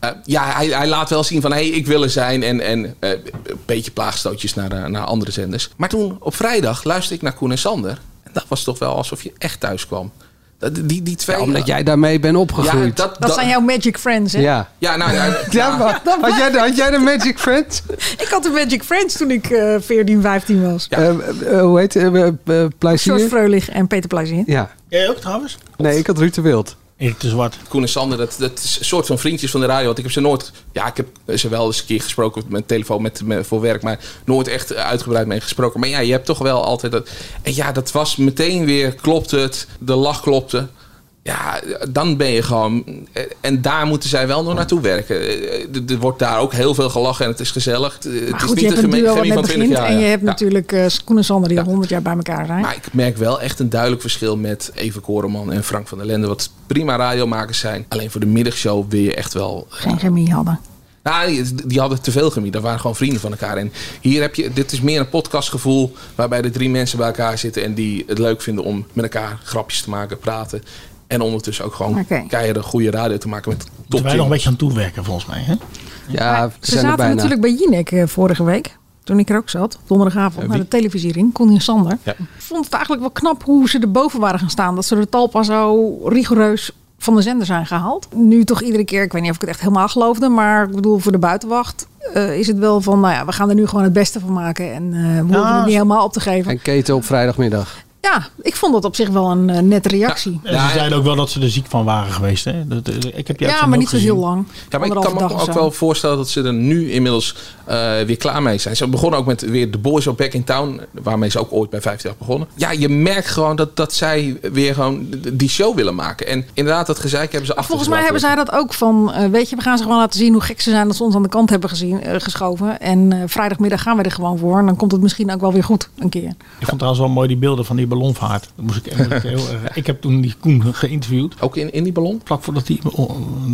Speaker 4: eh, ja, hij, hij laat wel zien van hé, hey, ik wil er zijn. En, en eh, een beetje plaagstootjes naar, eh, naar andere zenders. Maar toen op vrijdag luisterde ik naar Koen en Sander. En dat was toch wel alsof je echt thuis kwam. Dat- Die, die twee...
Speaker 5: Ja, omdat jij daarmee bent opgegroeid.
Speaker 4: Ja, dat-
Speaker 6: Dat, zijn jouw magic friends, hè?
Speaker 5: Ja.
Speaker 4: Ja,
Speaker 5: [LAUGHS]
Speaker 4: nou ja.
Speaker 5: Ja, maar had, jij, de- had jij de Magic Friends?
Speaker 6: Ik had de magic friends toen ik eh 14, 15 was.
Speaker 5: Eh, eh, hoe heet het? eh eh, Pleisier?
Speaker 6: George Freulich en Peter Plezier.
Speaker 5: Ja.
Speaker 7: Jij ook trouwens?
Speaker 5: Nee, ik had Ruud de Wild.
Speaker 7: Erik de Zwart.
Speaker 4: Koen en Sander, dat, dat is een soort van vriendjes van de radio. Want ik heb ze nooit... Ja, ik heb ze wel eens een keer gesproken op mijn telefoon met, met- voor werk. Maar nooit echt uitgebreid mee gesproken. Maar ja, je hebt toch wel altijd dat... En ja, dat was meteen weer... Klopte het, de lach klopte. Ja, dan ben je gewoon... En daar moeten zij wel nog naartoe werken. Eh, Er wordt daar ook heel veel gelachen en het is gezellig. Het
Speaker 6: Maar
Speaker 4: is
Speaker 6: goed, je hebt een
Speaker 4: geme-
Speaker 6: duo wat
Speaker 4: chemie
Speaker 6: net begint. en je
Speaker 4: ja.
Speaker 6: hebt
Speaker 4: Ja.
Speaker 6: natuurlijk eh Koen en Sander die al 100 jaar bij elkaar zijn.
Speaker 4: Maar ik merk wel echt een duidelijk verschil met Eva Koreman en Frank van der Lende. Wat prima radiomakers zijn. Alleen voor de middagshow wil je echt wel...
Speaker 6: Geen chemie hadden.
Speaker 4: Nou, die, die hadden te veel chemie. Dat waren gewoon vrienden van elkaar. En hier heb je... Dit is meer een podcastgevoel. Waarbij de drie mensen bij elkaar zitten. En die het leuk vinden om met elkaar grapjes te maken, praten. En ondertussen ook gewoon
Speaker 6: Oké.
Speaker 4: keiharde goede radio te maken met top
Speaker 7: Moeten wij nog een beetje aan toewerken volgens mij. Hè?
Speaker 5: Ja, we
Speaker 6: Ze zaten natuurlijk bij Jinek eh, vorige week. Toen ik er ook zat, op donderdagavond, naar de televisie in, Connie en Sander.
Speaker 4: Ja.
Speaker 6: Ik vond het eigenlijk wel knap hoe ze erboven waren gaan staan. Dat ze de talpa zo rigoureus van de zender zijn gehaald. Nu toch iedere keer, ik weet niet of ik het echt helemaal geloofde, maar ik bedoel, voor de buitenwacht eh, is het wel van, nou ja, we gaan er nu gewoon het beste van maken. En eh, we hoeven
Speaker 4: Ah,
Speaker 7: Ja,
Speaker 6: het niet helemaal op te geven.
Speaker 5: En keten op vrijdagmiddag.
Speaker 6: Ja, ik vond dat op zich wel een eh, nette reactie.
Speaker 7: En ze zeiden ook wel dat ze er ziek van waren geweest. Hè? Dat, eh, ik heb die
Speaker 6: Ja,
Speaker 7: uitzending
Speaker 6: maar
Speaker 7: ook
Speaker 6: niet zo
Speaker 7: gezien.
Speaker 6: heel lang.
Speaker 4: Ja, maar ik kan
Speaker 6: Anderhalve
Speaker 4: me
Speaker 6: dag of
Speaker 4: ook
Speaker 6: zo.
Speaker 4: wel voorstellen dat ze er nu inmiddels eh, weer klaar mee zijn. Ze begonnen ook met weer The Boys Are Back in Town, waarmee ze ook ooit bij 50 jaar begonnen. Ja, je merkt gewoon dat, dat zij weer gewoon d- die show willen maken. En inderdaad, dat gezeik hebben ze achter
Speaker 6: Volgens
Speaker 4: zich
Speaker 6: mij hebben
Speaker 4: laten
Speaker 6: zij dat ook van, eh, weet je, we gaan ze gewoon laten zien hoe gek ze zijn dat ze ons aan de kant hebben gezien, eh, geschoven. En eh, vrijdagmiddag gaan we er gewoon voor en dan komt het misschien ook wel weer goed een keer.
Speaker 7: Ik vond trouwens wel mooi die beelden van die ballonvaart. Dat moest ik, moet ik, heel, erg- ik heb toen die Koen geïnterviewd.
Speaker 4: Ook in, in die ballon?
Speaker 7: Vlak voordat hij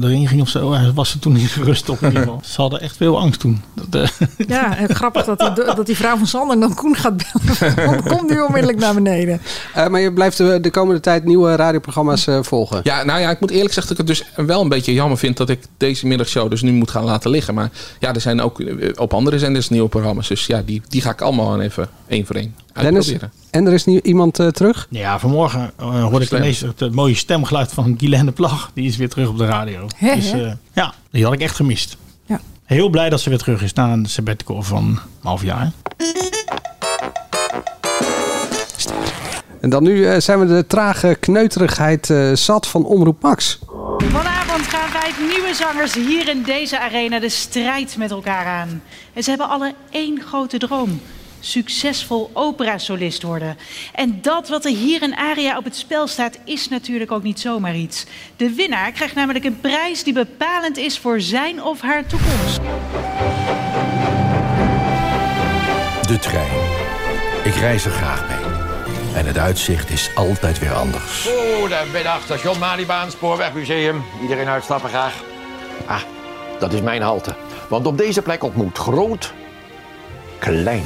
Speaker 7: erin ging of zo. Hij was er toen niet gerust op in ieder geval. Ze hadden echt veel angst toen. Dat, eh,
Speaker 6: [LAUGHS] Ja, en grappig dat die, dat die vrouw van Sander dan Koen gaat bellen. [LAUGHS] Want Kom nu onmiddellijk naar beneden.
Speaker 5: Eh, maar je blijft de, de komende tijd nieuwe radioprogramma's eh, volgen.
Speaker 4: Ja, nou ja, ik moet eerlijk zeggen dat ik het dus wel een beetje jammer vind dat ik deze middagshow dus nu moet gaan laten liggen. Maar ja, er zijn ook eh, op andere zenders nieuwe programma's. Dus ja, die, die ga ik allemaal gewoon even één voor één
Speaker 5: Dennis,
Speaker 4: uitproberen.
Speaker 5: en er is nu iemand eh, terug?
Speaker 7: ja, vanmorgen eh, hoorde ik
Speaker 4: Slim.
Speaker 7: ineens het, eh, mooie stemgeluid van Guylaine de Plag. Die is weer terug op de radio.
Speaker 6: Hè,
Speaker 7: dus,
Speaker 6: hè?
Speaker 7: eh, ja, die had ik echt gemist.
Speaker 6: Ja.
Speaker 7: Heel blij dat ze weer terug is na een sabbatical van een half jaar.
Speaker 5: En dan nu eh, zijn we de trage kneuterigheid eh, zat van Omroep Max.
Speaker 9: Vanavond gaan vijf nieuwe zangers hier in deze arena de strijd met elkaar aan. En ze hebben alle één grote droom. Succesvol operasolist worden. En dat wat er hier in Aria op het spel staat, is natuurlijk ook niet zomaar iets. De winnaar krijgt namelijk een prijs die bepalend is voor zijn of haar toekomst.
Speaker 13: De trein. Ik reis er graag mee. En het uitzicht is altijd weer anders.
Speaker 14: Goedemiddag, station Malibaan, Spoorwegmuseum. Iedereen uitstappen graag. Ah, dat is mijn halte. Want op deze plek ontmoet groot, klein.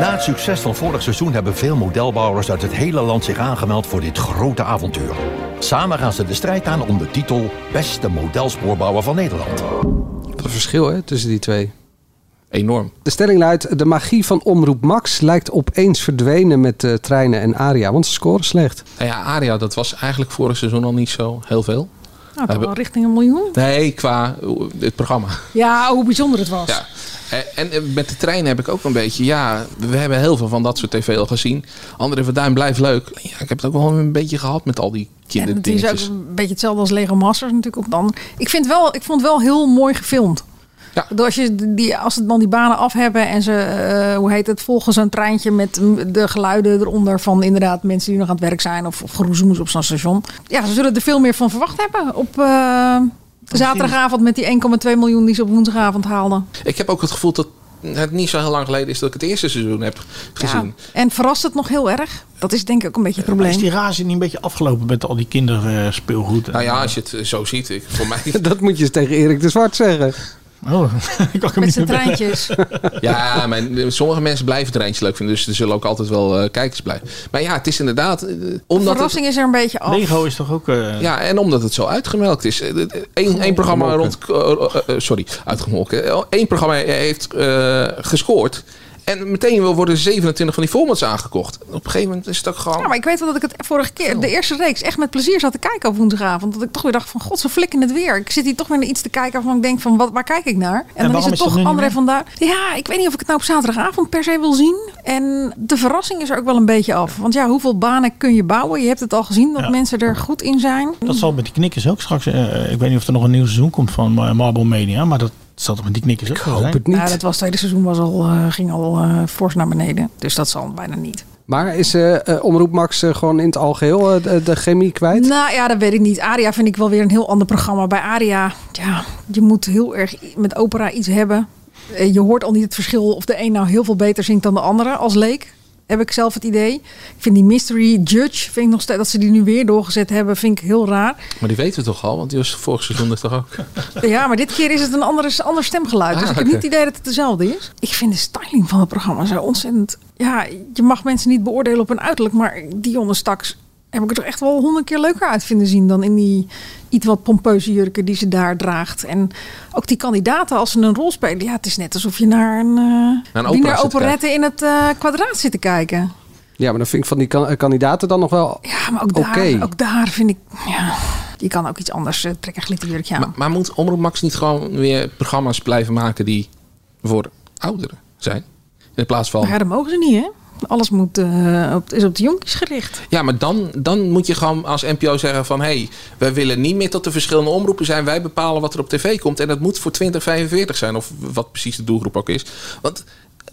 Speaker 13: Na het succes van vorig seizoen hebben veel modelbouwers uit het hele land zich aangemeld voor dit grote avontuur. Samen gaan ze de strijd aan om de titel Beste Modelspoorbouwer van Nederland.
Speaker 5: Wat een verschil hè, tussen die twee.
Speaker 4: Enorm.
Speaker 5: De stelling luidt, de magie van Omroep Max lijkt opeens verdwenen met eh, treinen en aria. Want ze scoren slecht.
Speaker 4: Nou ja, Aria, dat was eigenlijk vorig seizoen al niet zo heel veel.
Speaker 6: Nou, toch
Speaker 4: Hebben-
Speaker 6: wel richting een miljoen.
Speaker 4: Nee, qua eh, het programma.
Speaker 6: Ja, hoe bijzonder het was.
Speaker 4: Ja. Eh, En eh, met de trein heb ik ook een beetje, ja, we hebben heel veel van dat soort tv al gezien. André van Duin blijft leuk. Ja, ik heb het ook wel een beetje gehad met al die
Speaker 6: En het is ook
Speaker 4: kinderdingetjes.
Speaker 6: een beetje hetzelfde als Lego Masters natuurlijk op dan. Ik vind wel, ik vond het wel heel mooi gefilmd.
Speaker 4: Ja.
Speaker 6: Als, je die, als ze dan die banen af hebben en ze, eh, hoe heet het, volgen zo'n treintje met mm, de geluiden eronder van inderdaad mensen die nog aan het werk zijn of, of geroezemoes op zo'n station. Ja, ze zullen er veel meer van verwacht hebben op eh, zaterdagavond met die 1,2 miljoen die ze op woensdagavond haalden.
Speaker 4: Ik heb ook het gevoel dat het niet zo heel lang geleden is dat ik het eerste seizoen heb gezien.
Speaker 6: En verrast het nog heel erg? Dat is denk ik ook een beetje het
Speaker 7: Maar Is
Speaker 6: probleem.
Speaker 7: die razzie niet een beetje afgelopen met al die kinderspeelgoed?
Speaker 4: Nou ja, als je het eh, zo ziet, ik, voor
Speaker 6: [LAUGHS]
Speaker 4: mij...
Speaker 5: [LAUGHS] Dat moet je eens tegen Erik de Zwart zeggen.
Speaker 7: Oh, [LAUGHS] ik had hem
Speaker 6: Met zijn
Speaker 7: niet meer bellen. [LAUGHS]
Speaker 6: treintjes.
Speaker 4: Ja, maar eh, sommige mensen blijven het eindje leuk vinden. Dus er zullen ook altijd wel eh, kijkers blijven. Maar ja, het is inderdaad... eh, omdat het-
Speaker 6: Verrassing is er een beetje af.
Speaker 7: Lego is toch ook... eh,
Speaker 4: Ja, en omdat het zo uitgemelkt is. Eén één programma rond. eh, eh, eh, sorry, uitgemolken. Eén programma heeft eh, gescoord. En meteen wel worden 27 van die formats aangekocht. Op een gegeven moment is het ook
Speaker 7: Oh.
Speaker 4: gewoon...
Speaker 6: Ja, maar ik weet wel dat ik het vorige keer, de eerste reeks, echt met plezier zat te kijken op woensdagavond. Dat ik toch weer dacht van, god, ze flikken het weer. Ik zit hier toch weer naar iets te kijken waarvan ik denk van, wat, waar kijk ik naar? En, dan
Speaker 7: waarom
Speaker 6: is het
Speaker 7: is dat nu
Speaker 6: toch
Speaker 7: niet
Speaker 6: André
Speaker 7: meer?
Speaker 6: van Duin. Ja, ik weet niet of ik het nou op zaterdagavond per se wil zien. En de verrassing is er ook wel een beetje af. Want ja, hoeveel banen kun je bouwen? Je hebt het al gezien dat mensen er goed in zijn.
Speaker 7: Dat zal met die knikkers ook straks. eh, ik weet niet of er nog een nieuw seizoen komt van Mar- Marble Mania. Maar dat zal toch met die knikkers ook wel zijn?
Speaker 6: Ja, Nou, dat was het tweede seizoen was al, eh, ging al eh, fors naar beneden. Dus dat zal bijna niet.
Speaker 5: Maar is eh, eh, Omroep Max eh, gewoon in het algeheel eh, de, de chemie kwijt?
Speaker 6: Nou ja, dat weet ik niet. Aria vind ik wel weer een heel ander programma. Bij Aria, ja, je moet heel erg i- met opera iets hebben. Eh, Je hoort al niet het verschil of de een nou heel veel beter zingt dan de andere als leek. Heb ik zelf het idee. Ik vind die Mystery Judge, vind ik nog steeds, dat ze die nu weer doorgezet hebben, vind ik heel raar.
Speaker 4: Maar die weten we toch al, want die was vorig seizoen er toch ook.
Speaker 6: Ja, maar dit keer is het een ander, ander stemgeluid.
Speaker 4: Ah,
Speaker 6: dus ik heb
Speaker 4: oké.
Speaker 6: niet het idee dat het dezelfde is. Ik vind de styling van het programma zo ontzettend... Ja, je mag mensen niet beoordelen op hun uiterlijk. Maar Dionne Staks heb ik het er echt wel honderd keer leuker uit vinden zien... dan in die iets wat pompeuze jurken die ze daar draagt. En ook die kandidaten, als ze een rol spelen... Ja, het is net alsof je naar een,
Speaker 5: opera
Speaker 6: eh wiener
Speaker 5: zit te
Speaker 6: operette in het eh, kwadraat zit te kijken.
Speaker 5: Ja, maar dan vind ik van die kan- eh, kandidaten dan nog wel
Speaker 6: Ja, maar ook
Speaker 5: oké.
Speaker 6: daar, ook daar vind ik... Ja, je kan ook iets anders eh, trekken, glitterjurkje aan.
Speaker 4: Maar, maar moet Omroep Max niet gewoon weer programma's blijven maken die voor ouderen zijn? In plaats van...
Speaker 5: Oh.
Speaker 6: Maar ja, dat mogen ze niet, hè? Alles moet, eh, op, is op de jonkies gericht.
Speaker 4: Ja, maar dan, dan moet je gewoon als NPO zeggen van... hé, hey, wij willen niet meer dat er verschillende omroepen zijn. Wij bepalen wat er op tv komt. En dat moet voor 2045 zijn. Of wat precies de doelgroep ook is. Want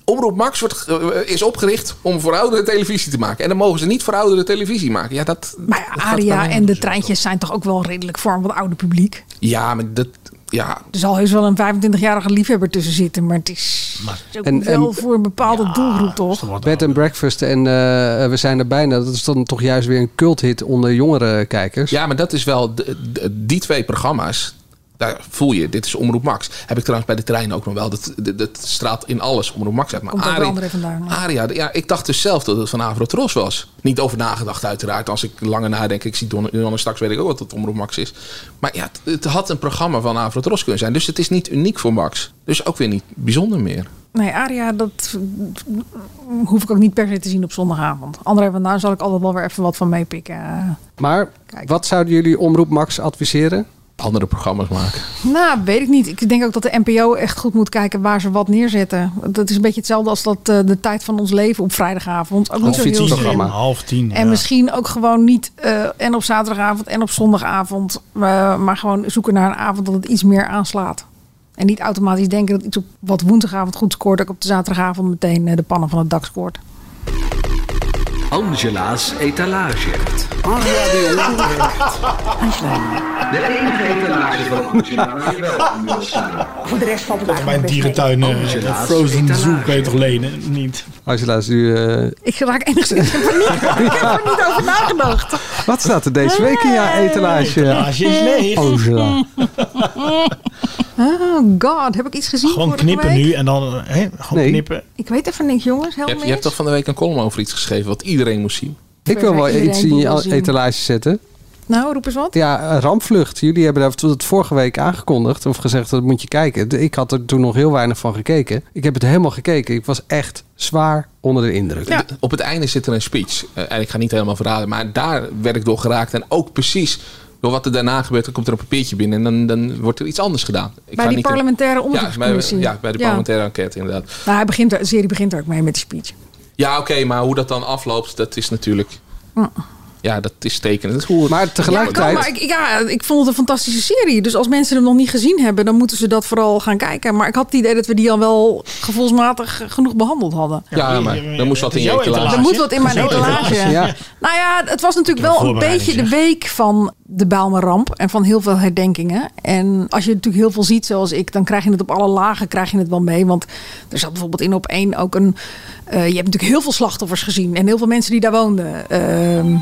Speaker 4: Omroep Max wordt, ge- eh, is opgericht om voor oudere televisie te maken. En dan mogen ze niet voor oudere televisie maken. Ja, dat,
Speaker 6: Maar ja, Aria en de treintjes zijn toch ook wel redelijk vorm van oude publiek.
Speaker 4: ja maar dat... Ja,
Speaker 6: Er zal heus wel een 25-jarige liefhebber tussen zitten, maar het is ook
Speaker 5: En-
Speaker 6: wel
Speaker 5: en-
Speaker 6: voor een bepaalde doelgroep, toch?
Speaker 5: Bed and Breakfast en eh, eh, We zijn er bijna. Dat is dan toch juist weer een culthit onder jongere kijkers.
Speaker 4: Ja, maar dat is wel. de- de- die twee programma's. Daar voel je, dit is Omroep Max. Heb ik trouwens bij de trein ook nog wel. Dat, dat, dat straalt in alles Omroep Max uit. Maar
Speaker 6: Komt ook wel
Speaker 4: Arie-
Speaker 6: André vandaan.
Speaker 4: Aria, ja, ik dacht dus zelf dat het van Avrotros was. Niet over nagedacht uiteraard. Als ik langer nadenk, ik zie Don- Johannes straks, weet ik ook wat het Omroep Max is. Maar ja, het, het had een programma van Avrotros kunnen zijn. Dus het is niet uniek voor Max. Dus ook weer niet bijzonder meer.
Speaker 6: Nee, Aria, dat mm, hoef ik ook niet per se te zien op zondagavond. André van Duin zal ik altijd wel weer even wat van meepikken.
Speaker 5: Maar wat zouden jullie Omroep Max adviseren?
Speaker 4: Andere programma's maken.
Speaker 6: Nou, weet ik niet. Ik denk ook dat de NPO echt goed moet kijken waar ze wat neerzetten. Dat is een beetje hetzelfde als dat eh, de tijd van ons leven op vrijdagavond. Ook niet zo heel slim.
Speaker 7: Half tien.
Speaker 6: En misschien ook gewoon niet eh, en op zaterdagavond en op zondagavond. eh, maar gewoon zoeken naar een avond dat het iets meer aanslaat. En niet automatisch denken dat iets op wat woensdagavond goed scoort, ook op de zaterdagavond meteen eh, de pannen van het dak scoort.
Speaker 15: Angela's etalage.
Speaker 8: Angela de
Speaker 15: De enige etalage van Angela waar je wel aan wil staan.
Speaker 16: Voor de rest valt het
Speaker 7: Bij een
Speaker 16: eigenlijk best mee.
Speaker 7: dierentuin, eh,
Speaker 5: Angela's
Speaker 7: een Frozen
Speaker 5: etalage.
Speaker 7: Zoo kan je toch lenen? Niet.
Speaker 5: Angela is nu... eh,
Speaker 6: Ik raak enigszins in
Speaker 7: [LAUGHS]
Speaker 6: paniek. ik heb er niet over nagedacht.
Speaker 5: wat staat er deze week in jouw etalage?
Speaker 7: etalage is leeg.
Speaker 5: Angela.
Speaker 6: Oh god, heb ik iets gezien
Speaker 7: Gewoon
Speaker 6: vorige
Speaker 7: knippen
Speaker 6: week?
Speaker 7: nu en dan eh, hè, gewoon knippen.
Speaker 6: Ik weet even niks, jongens.
Speaker 4: Je
Speaker 6: Help
Speaker 4: hebt,
Speaker 6: me
Speaker 4: je hebt
Speaker 6: eens.
Speaker 4: toch van de week een column over iets geschreven wat iedereen moest zien?
Speaker 5: Ik wil wel
Speaker 6: Iedereen
Speaker 5: iets in
Speaker 6: die
Speaker 5: je
Speaker 6: wil
Speaker 5: al-
Speaker 6: zien.
Speaker 5: etalage zetten.
Speaker 6: Nou, roep eens wat.
Speaker 5: Ja, eh, Rampvlucht. Jullie hebben daar het vorige week aangekondigd of gezegd dat moet je kijken. De- Ik had er toen nog heel weinig van gekeken. Ik heb het helemaal gekeken. Ik was echt zwaar onder de indruk.
Speaker 4: D- Op het einde zit er een speech. Eh, en ik ga niet helemaal verraden, maar daar werd ik door geraakt. En ook precies door wat er daarna gebeurt, dan komt er een papiertje binnen en dan, dan wordt er iets anders gedaan. Ik
Speaker 6: Bij
Speaker 4: ga
Speaker 6: die
Speaker 4: niet
Speaker 6: parlementaire
Speaker 4: Ja,
Speaker 6: onderzoekscommissie.
Speaker 4: bij, ja, bij de
Speaker 6: Ja.
Speaker 4: parlementaire enquête inderdaad.
Speaker 6: Nou, hij begint, er- de serie begint er ook mee met die speech.
Speaker 4: Ja, oké, maar hoe dat dan afloopt, dat is natuurlijk...
Speaker 6: Hm.
Speaker 4: Ja, dat is tekenend.
Speaker 5: maar
Speaker 6: Ja, kan, maar ik, ik- ja, ik vond het een fantastische serie. Dus als mensen hem nog niet gezien hebben, dan moeten ze dat vooral gaan kijken. Maar ik had het idee dat we die al wel gevoelsmatig genoeg behandeld hadden.
Speaker 4: Ja, maar dan moest wat in je etalage.
Speaker 6: Er moet wat in mijn
Speaker 4: Jouw
Speaker 6: etalage.
Speaker 4: Ja.
Speaker 6: Nou ja, het was natuurlijk
Speaker 4: Ik heb
Speaker 6: wel een
Speaker 4: voorbereiding,
Speaker 6: beetje de
Speaker 4: zeg.
Speaker 6: week van de Bijlmerramp. En van heel veel herdenkingen. En als je natuurlijk heel veel ziet zoals ik, dan krijg je het op alle lagen krijg je het wel mee. Want er zat bijvoorbeeld in op één ook een... eh, je hebt natuurlijk heel veel slachtoffers gezien. En heel veel mensen die daar woonden. Ehm,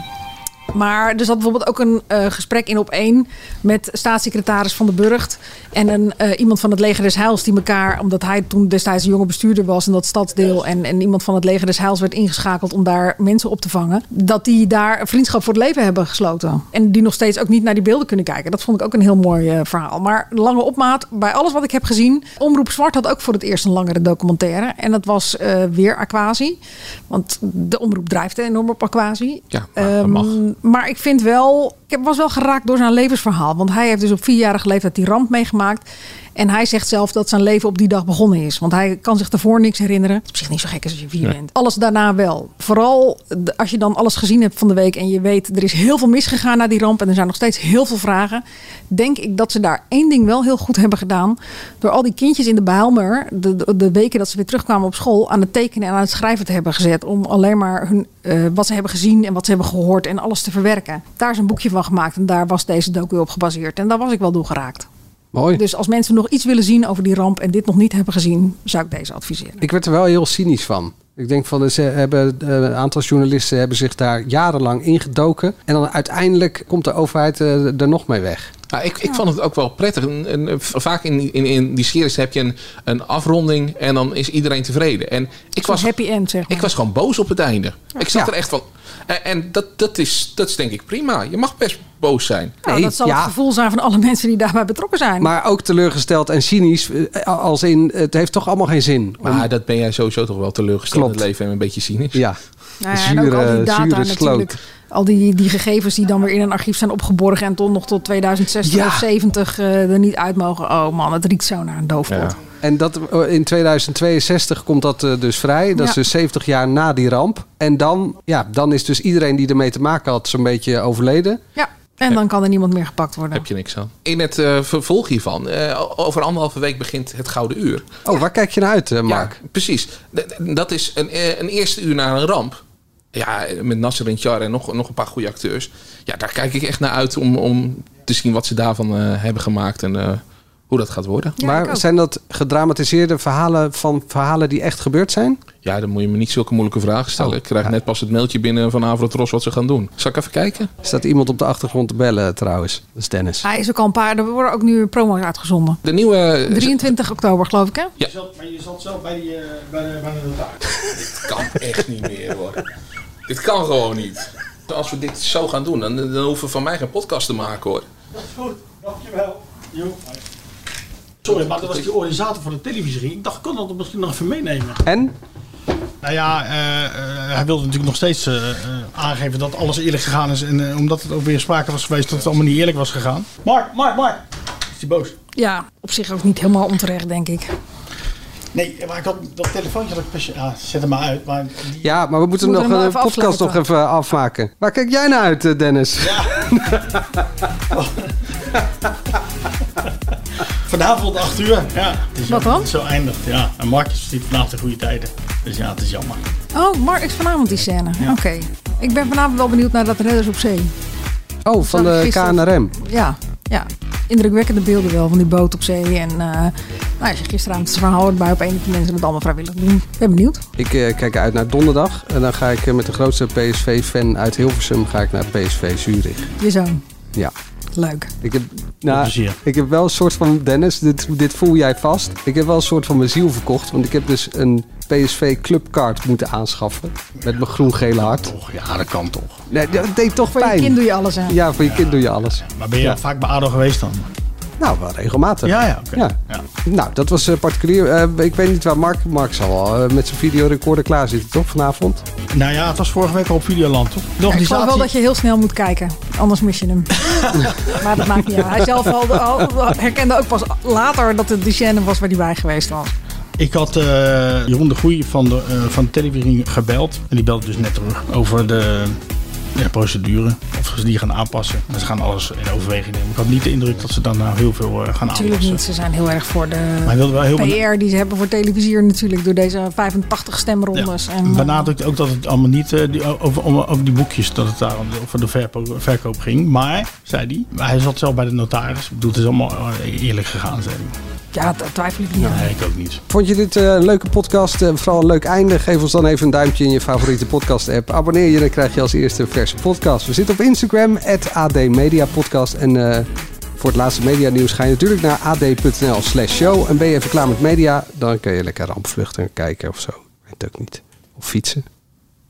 Speaker 6: Maar er zat bijvoorbeeld ook een eh, gesprek in op één met staatssecretaris Van de Burgt en een, eh, iemand van het leger des Heils die elkaar, omdat hij toen destijds een jonge bestuurder was in dat stadsdeel en, en iemand van het leger des Heils werd ingeschakeld om daar mensen op te vangen, dat die daar een vriendschap voor het leven hebben gesloten. En die nog steeds ook niet naar die beelden kunnen kijken. Dat vond ik ook een heel mooi eh, verhaal. Maar lange opmaat, bij alles wat ik heb gezien, Omroep Zwart had ook voor het eerst een langere documentaire en dat was eh, weer Aquasi, want de omroep drijft enorm op Aquasi.
Speaker 4: Ja,
Speaker 6: Ehm, maar ik vind wel, ik heb- was wel geraakt door zijn levensverhaal. Want hij heeft dus op vierjarige leeftijd die ramp meegemaakt. En hij zegt zelf dat zijn leven op die dag begonnen is. Want hij kan zich daarvoor niks herinneren. Het is op zich niet zo gek als je vier
Speaker 16: Nee.
Speaker 6: bent. Alles daarna wel. Vooral de- als je dan alles gezien hebt van de week en je weet er is heel veel misgegaan na die ramp en er zijn nog steeds heel veel vragen. Denk ik dat ze daar één ding wel heel goed hebben gedaan. Door al die kindjes in de Bijlmer, de, de, de weken dat ze weer terugkwamen op school, aan het tekenen en aan het schrijven te hebben gezet. Om alleen maar hun, eh, wat ze hebben gezien en wat ze hebben gehoord en alles te verwerken. Daar is een boekje van gemaakt en daar was deze docu op gebaseerd. En daar was ik wel door geraakt.
Speaker 5: Mooi.
Speaker 6: Dus als mensen nog iets willen zien over die ramp en dit nog niet hebben gezien, zou ik deze adviseren.
Speaker 5: Ik werd er wel heel cynisch van. Ik denk van, ze hebben, eh, een aantal journalisten hebben zich daar jarenlang ingedoken. En dan uiteindelijk komt de overheid eh, er nog mee weg.
Speaker 4: Ja, ik, ik vond het ook wel prettig. Een, een- een- vaak in, in, in die series heb je een, een afronding en dan is iedereen tevreden. En ik was,
Speaker 6: happy end, zeg maar.
Speaker 4: ik was gewoon boos op het einde. Ik zat er echt van. En, en dat, dat, is, dat is denk ik prima. Je mag best boos zijn.
Speaker 6: Nou, dat zal het gevoel zijn van alle mensen die daarbij betrokken zijn.
Speaker 5: Maar ook teleurgesteld en cynisch. eh, Als in, het heeft toch allemaal geen zin.
Speaker 6: Nou
Speaker 4: Maar dat ben jij sowieso toch wel teleurgesteld in het leven en een beetje cynisch.
Speaker 5: Ja.
Speaker 6: Nou ja, en ook al die data natuurlijk. Al die, die gegevens die dan weer in een archief zijn opgeborgen en tot nog tot 2060
Speaker 5: Ja.
Speaker 6: of 70 eh, er niet uit mogen. Oh man, het riekt zo naar een doofpot.
Speaker 5: En dat, eh, in 2062 komt dat eh, dus vrij. Dat is
Speaker 6: Ja.
Speaker 5: dus 70 jaar na die ramp. En dan, ja, dan is dus iedereen die ermee te maken had zo'n beetje overleden.
Speaker 6: Ja, en dan kan er niemand meer gepakt worden.
Speaker 4: Heb je niks aan. In het eh, vervolg hiervan, eh, over anderhalve week begint het Gouden Uur.
Speaker 5: Oh, waar kijk je naar uit, eh, Mark?
Speaker 4: Precies. D- d- Dat is een, eh, een eerste uur na een ramp. Ja, met Nasser en Char en nog, nog een paar goede acteurs. Ja, daar kijk ik echt naar uit om, om te zien wat ze daarvan eh, hebben gemaakt en eh, hoe dat gaat worden.
Speaker 5: maar zijn dat gedramatiseerde verhalen van verhalen die echt gebeurd zijn?
Speaker 4: Ja, dan moet je me niet zulke moeilijke vragen stellen. ik krijg net pas het mailtje binnen van Avrotros wat ze gaan doen. Zal ik even kijken?
Speaker 5: Staat iemand op de achtergrond te bellen eh, trouwens? Dat is Dennis.
Speaker 6: Hij is ook al een paar, er worden ook nu promo's uitgezonden.
Speaker 4: De nieuwe...
Speaker 6: 23 oktober geloof ik hè?
Speaker 4: Ja.
Speaker 7: Maar je zat zelf bij, die, eh, bij, de, bij de
Speaker 4: kan echt niet meer hoor. Dit kan gewoon niet. Als we dit zo gaan doen, dan, dan hoeven we van mij geen podcast te maken hoor.
Speaker 7: Dat is goed, dankjewel. Sorry, maar dat was die organisator van de televisie. Ik dacht, kon dat misschien nog even meenemen?
Speaker 5: En?
Speaker 7: Nou ja, eh, eh, hij wilde natuurlijk nog steeds eh, eh, aangeven dat alles eerlijk gegaan is. En eh, omdat het ook weer sprake was geweest dat het allemaal niet eerlijk was gegaan. Mark, Mark, Mark! Is hij boos?
Speaker 6: Ja, op zich ook niet helemaal onterecht denk ik.
Speaker 7: Nee, maar ik had dat telefoontje dat ik pas... Ah, zet hem maar uit. Maar
Speaker 5: Ja, maar we moeten
Speaker 7: Moeten
Speaker 5: nog
Speaker 7: we hem
Speaker 5: een
Speaker 7: even
Speaker 5: podcast nog
Speaker 7: afsluiten.
Speaker 5: even afmaken. Waar kijk jij naar uit, eh, Dennis?
Speaker 7: vanavond 8 uur. Ja, het is
Speaker 6: Wat
Speaker 7: jammer
Speaker 6: dan?
Speaker 7: dat het Zo eindigt, ja. En Mark is niet vanavond de goede tijden. Dus ja, het is jammer.
Speaker 6: Oh, Mark is vanavond die scène. Oké. Ik ben vanavond wel benieuwd naar dat Redders op Zee.
Speaker 5: Oh, van de KNRM.
Speaker 6: Ja, ja. Indrukwekkende beelden wel van die boot op zee. En eh, nou, als je gisteravond het verhaal hoort bij op een dat die mensen het allemaal vrijwillig doen. Ik ben benieuwd.
Speaker 5: Ik eh, kijk uit naar donderdag. En dan ga ik eh, met de grootste PSV-fan uit Hilversum ga ik naar PSV Zurich.
Speaker 6: Je zoon.
Speaker 5: Ja.
Speaker 6: Leuk.
Speaker 5: Ik heb, nou, ik heb wel een soort van, Dennis, dit, dit voel jij vast. Ik heb wel een soort van mijn ziel verkocht. Want ik heb dus een PSV clubkaart moeten aanschaffen. Met mijn groen-gele hart.
Speaker 7: Ja, dat kan toch.
Speaker 5: Nee, dat deed toch
Speaker 6: Voor
Speaker 5: pijn.
Speaker 6: je kind doe je alles aan.
Speaker 5: Ja, voor je kind doe je alles.
Speaker 7: Maar ben je
Speaker 5: Ja.
Speaker 7: vaak bij ADO geweest dan?
Speaker 5: Nou, wel regelmatig.
Speaker 7: Ja, ja, oké.
Speaker 5: Nou, dat was eh, particulier. Eh, ik weet niet waar Mark... Mark zal al eh, met zijn videorecorder klaar zitten, toch, vanavond?
Speaker 7: Nou ja, het was vorige week al op Videoland, toch?
Speaker 6: Ja, ik geloof wel dat je heel snel moet kijken. Anders mis je
Speaker 7: [LAUGHS]
Speaker 6: hem. maar dat maakt niet uit. Hij zelf al, al- herkende ook pas later dat het de scène was waar hij bij geweest was.
Speaker 7: Ik had eh, Jeroen de Goeie van de, eh, van de televisie gebeld. En die belde dus net terug over de, ja, procedure. Of ze die gaan aanpassen. En ze gaan alles in overweging nemen. Ik had niet de indruk dat ze dan nou heel veel eh, gaan
Speaker 6: Natuurlijk
Speaker 7: aanpassen.
Speaker 6: niet. Ze zijn heel erg voor de
Speaker 7: Maar hij wilde wel heel benad-
Speaker 6: PR die ze hebben voor televisier natuurlijk. Door deze 85 stemrondes. En, eh,
Speaker 7: benadrukt ook dat het allemaal niet eh, die, over, om- over die boekjes, dat het daar om- over de verpo- verkoop ging. Maar, zei hij, hij zat zelf bij de notaris. Ik bedoel, het is allemaal eh, eerlijk gegaan, zei hij.
Speaker 6: Ja, daar twijfel ik niet aan.
Speaker 7: ik ook niet.
Speaker 5: Vond je dit eh, een leuke podcast? Eh, vooral een leuk einde? Geef ons dan even een duimpje in je favoriete podcast-app. Abonneer je, dan krijg je als eerste een verse podcast. We zitten op Instagram, @admediapodcast. En eh, voor het laatste medianieuws ga je natuurlijk naar ad.nl slash show. En ben je even klaar met media, dan kun je lekker rampvluchten kijken of zo. Weet ook niet. Of fietsen.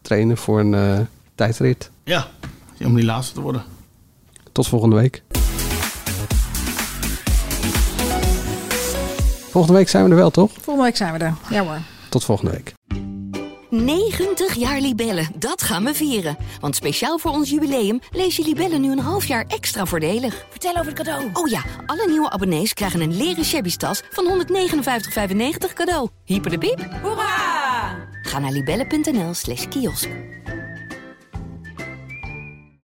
Speaker 5: Trainen voor een eh, tijdrit.
Speaker 7: Ja, om die laatste te worden.
Speaker 5: Tot volgende week. Volgende week zijn we er wel, toch?
Speaker 6: Volgende week zijn we er. Ja hoor.
Speaker 5: Tot volgende week.
Speaker 1: 90 jaar Libellen, dat gaan we vieren. Want speciaal voor ons jubileum lees je Libellen nu een half jaar extra voordelig. Vertel over het cadeau. Oh ja, alle nieuwe abonnees krijgen een leren shabby tas van 159,95 cadeau. Hyper de piep. Hoera! Ga naar libellen.nl slash kiosk.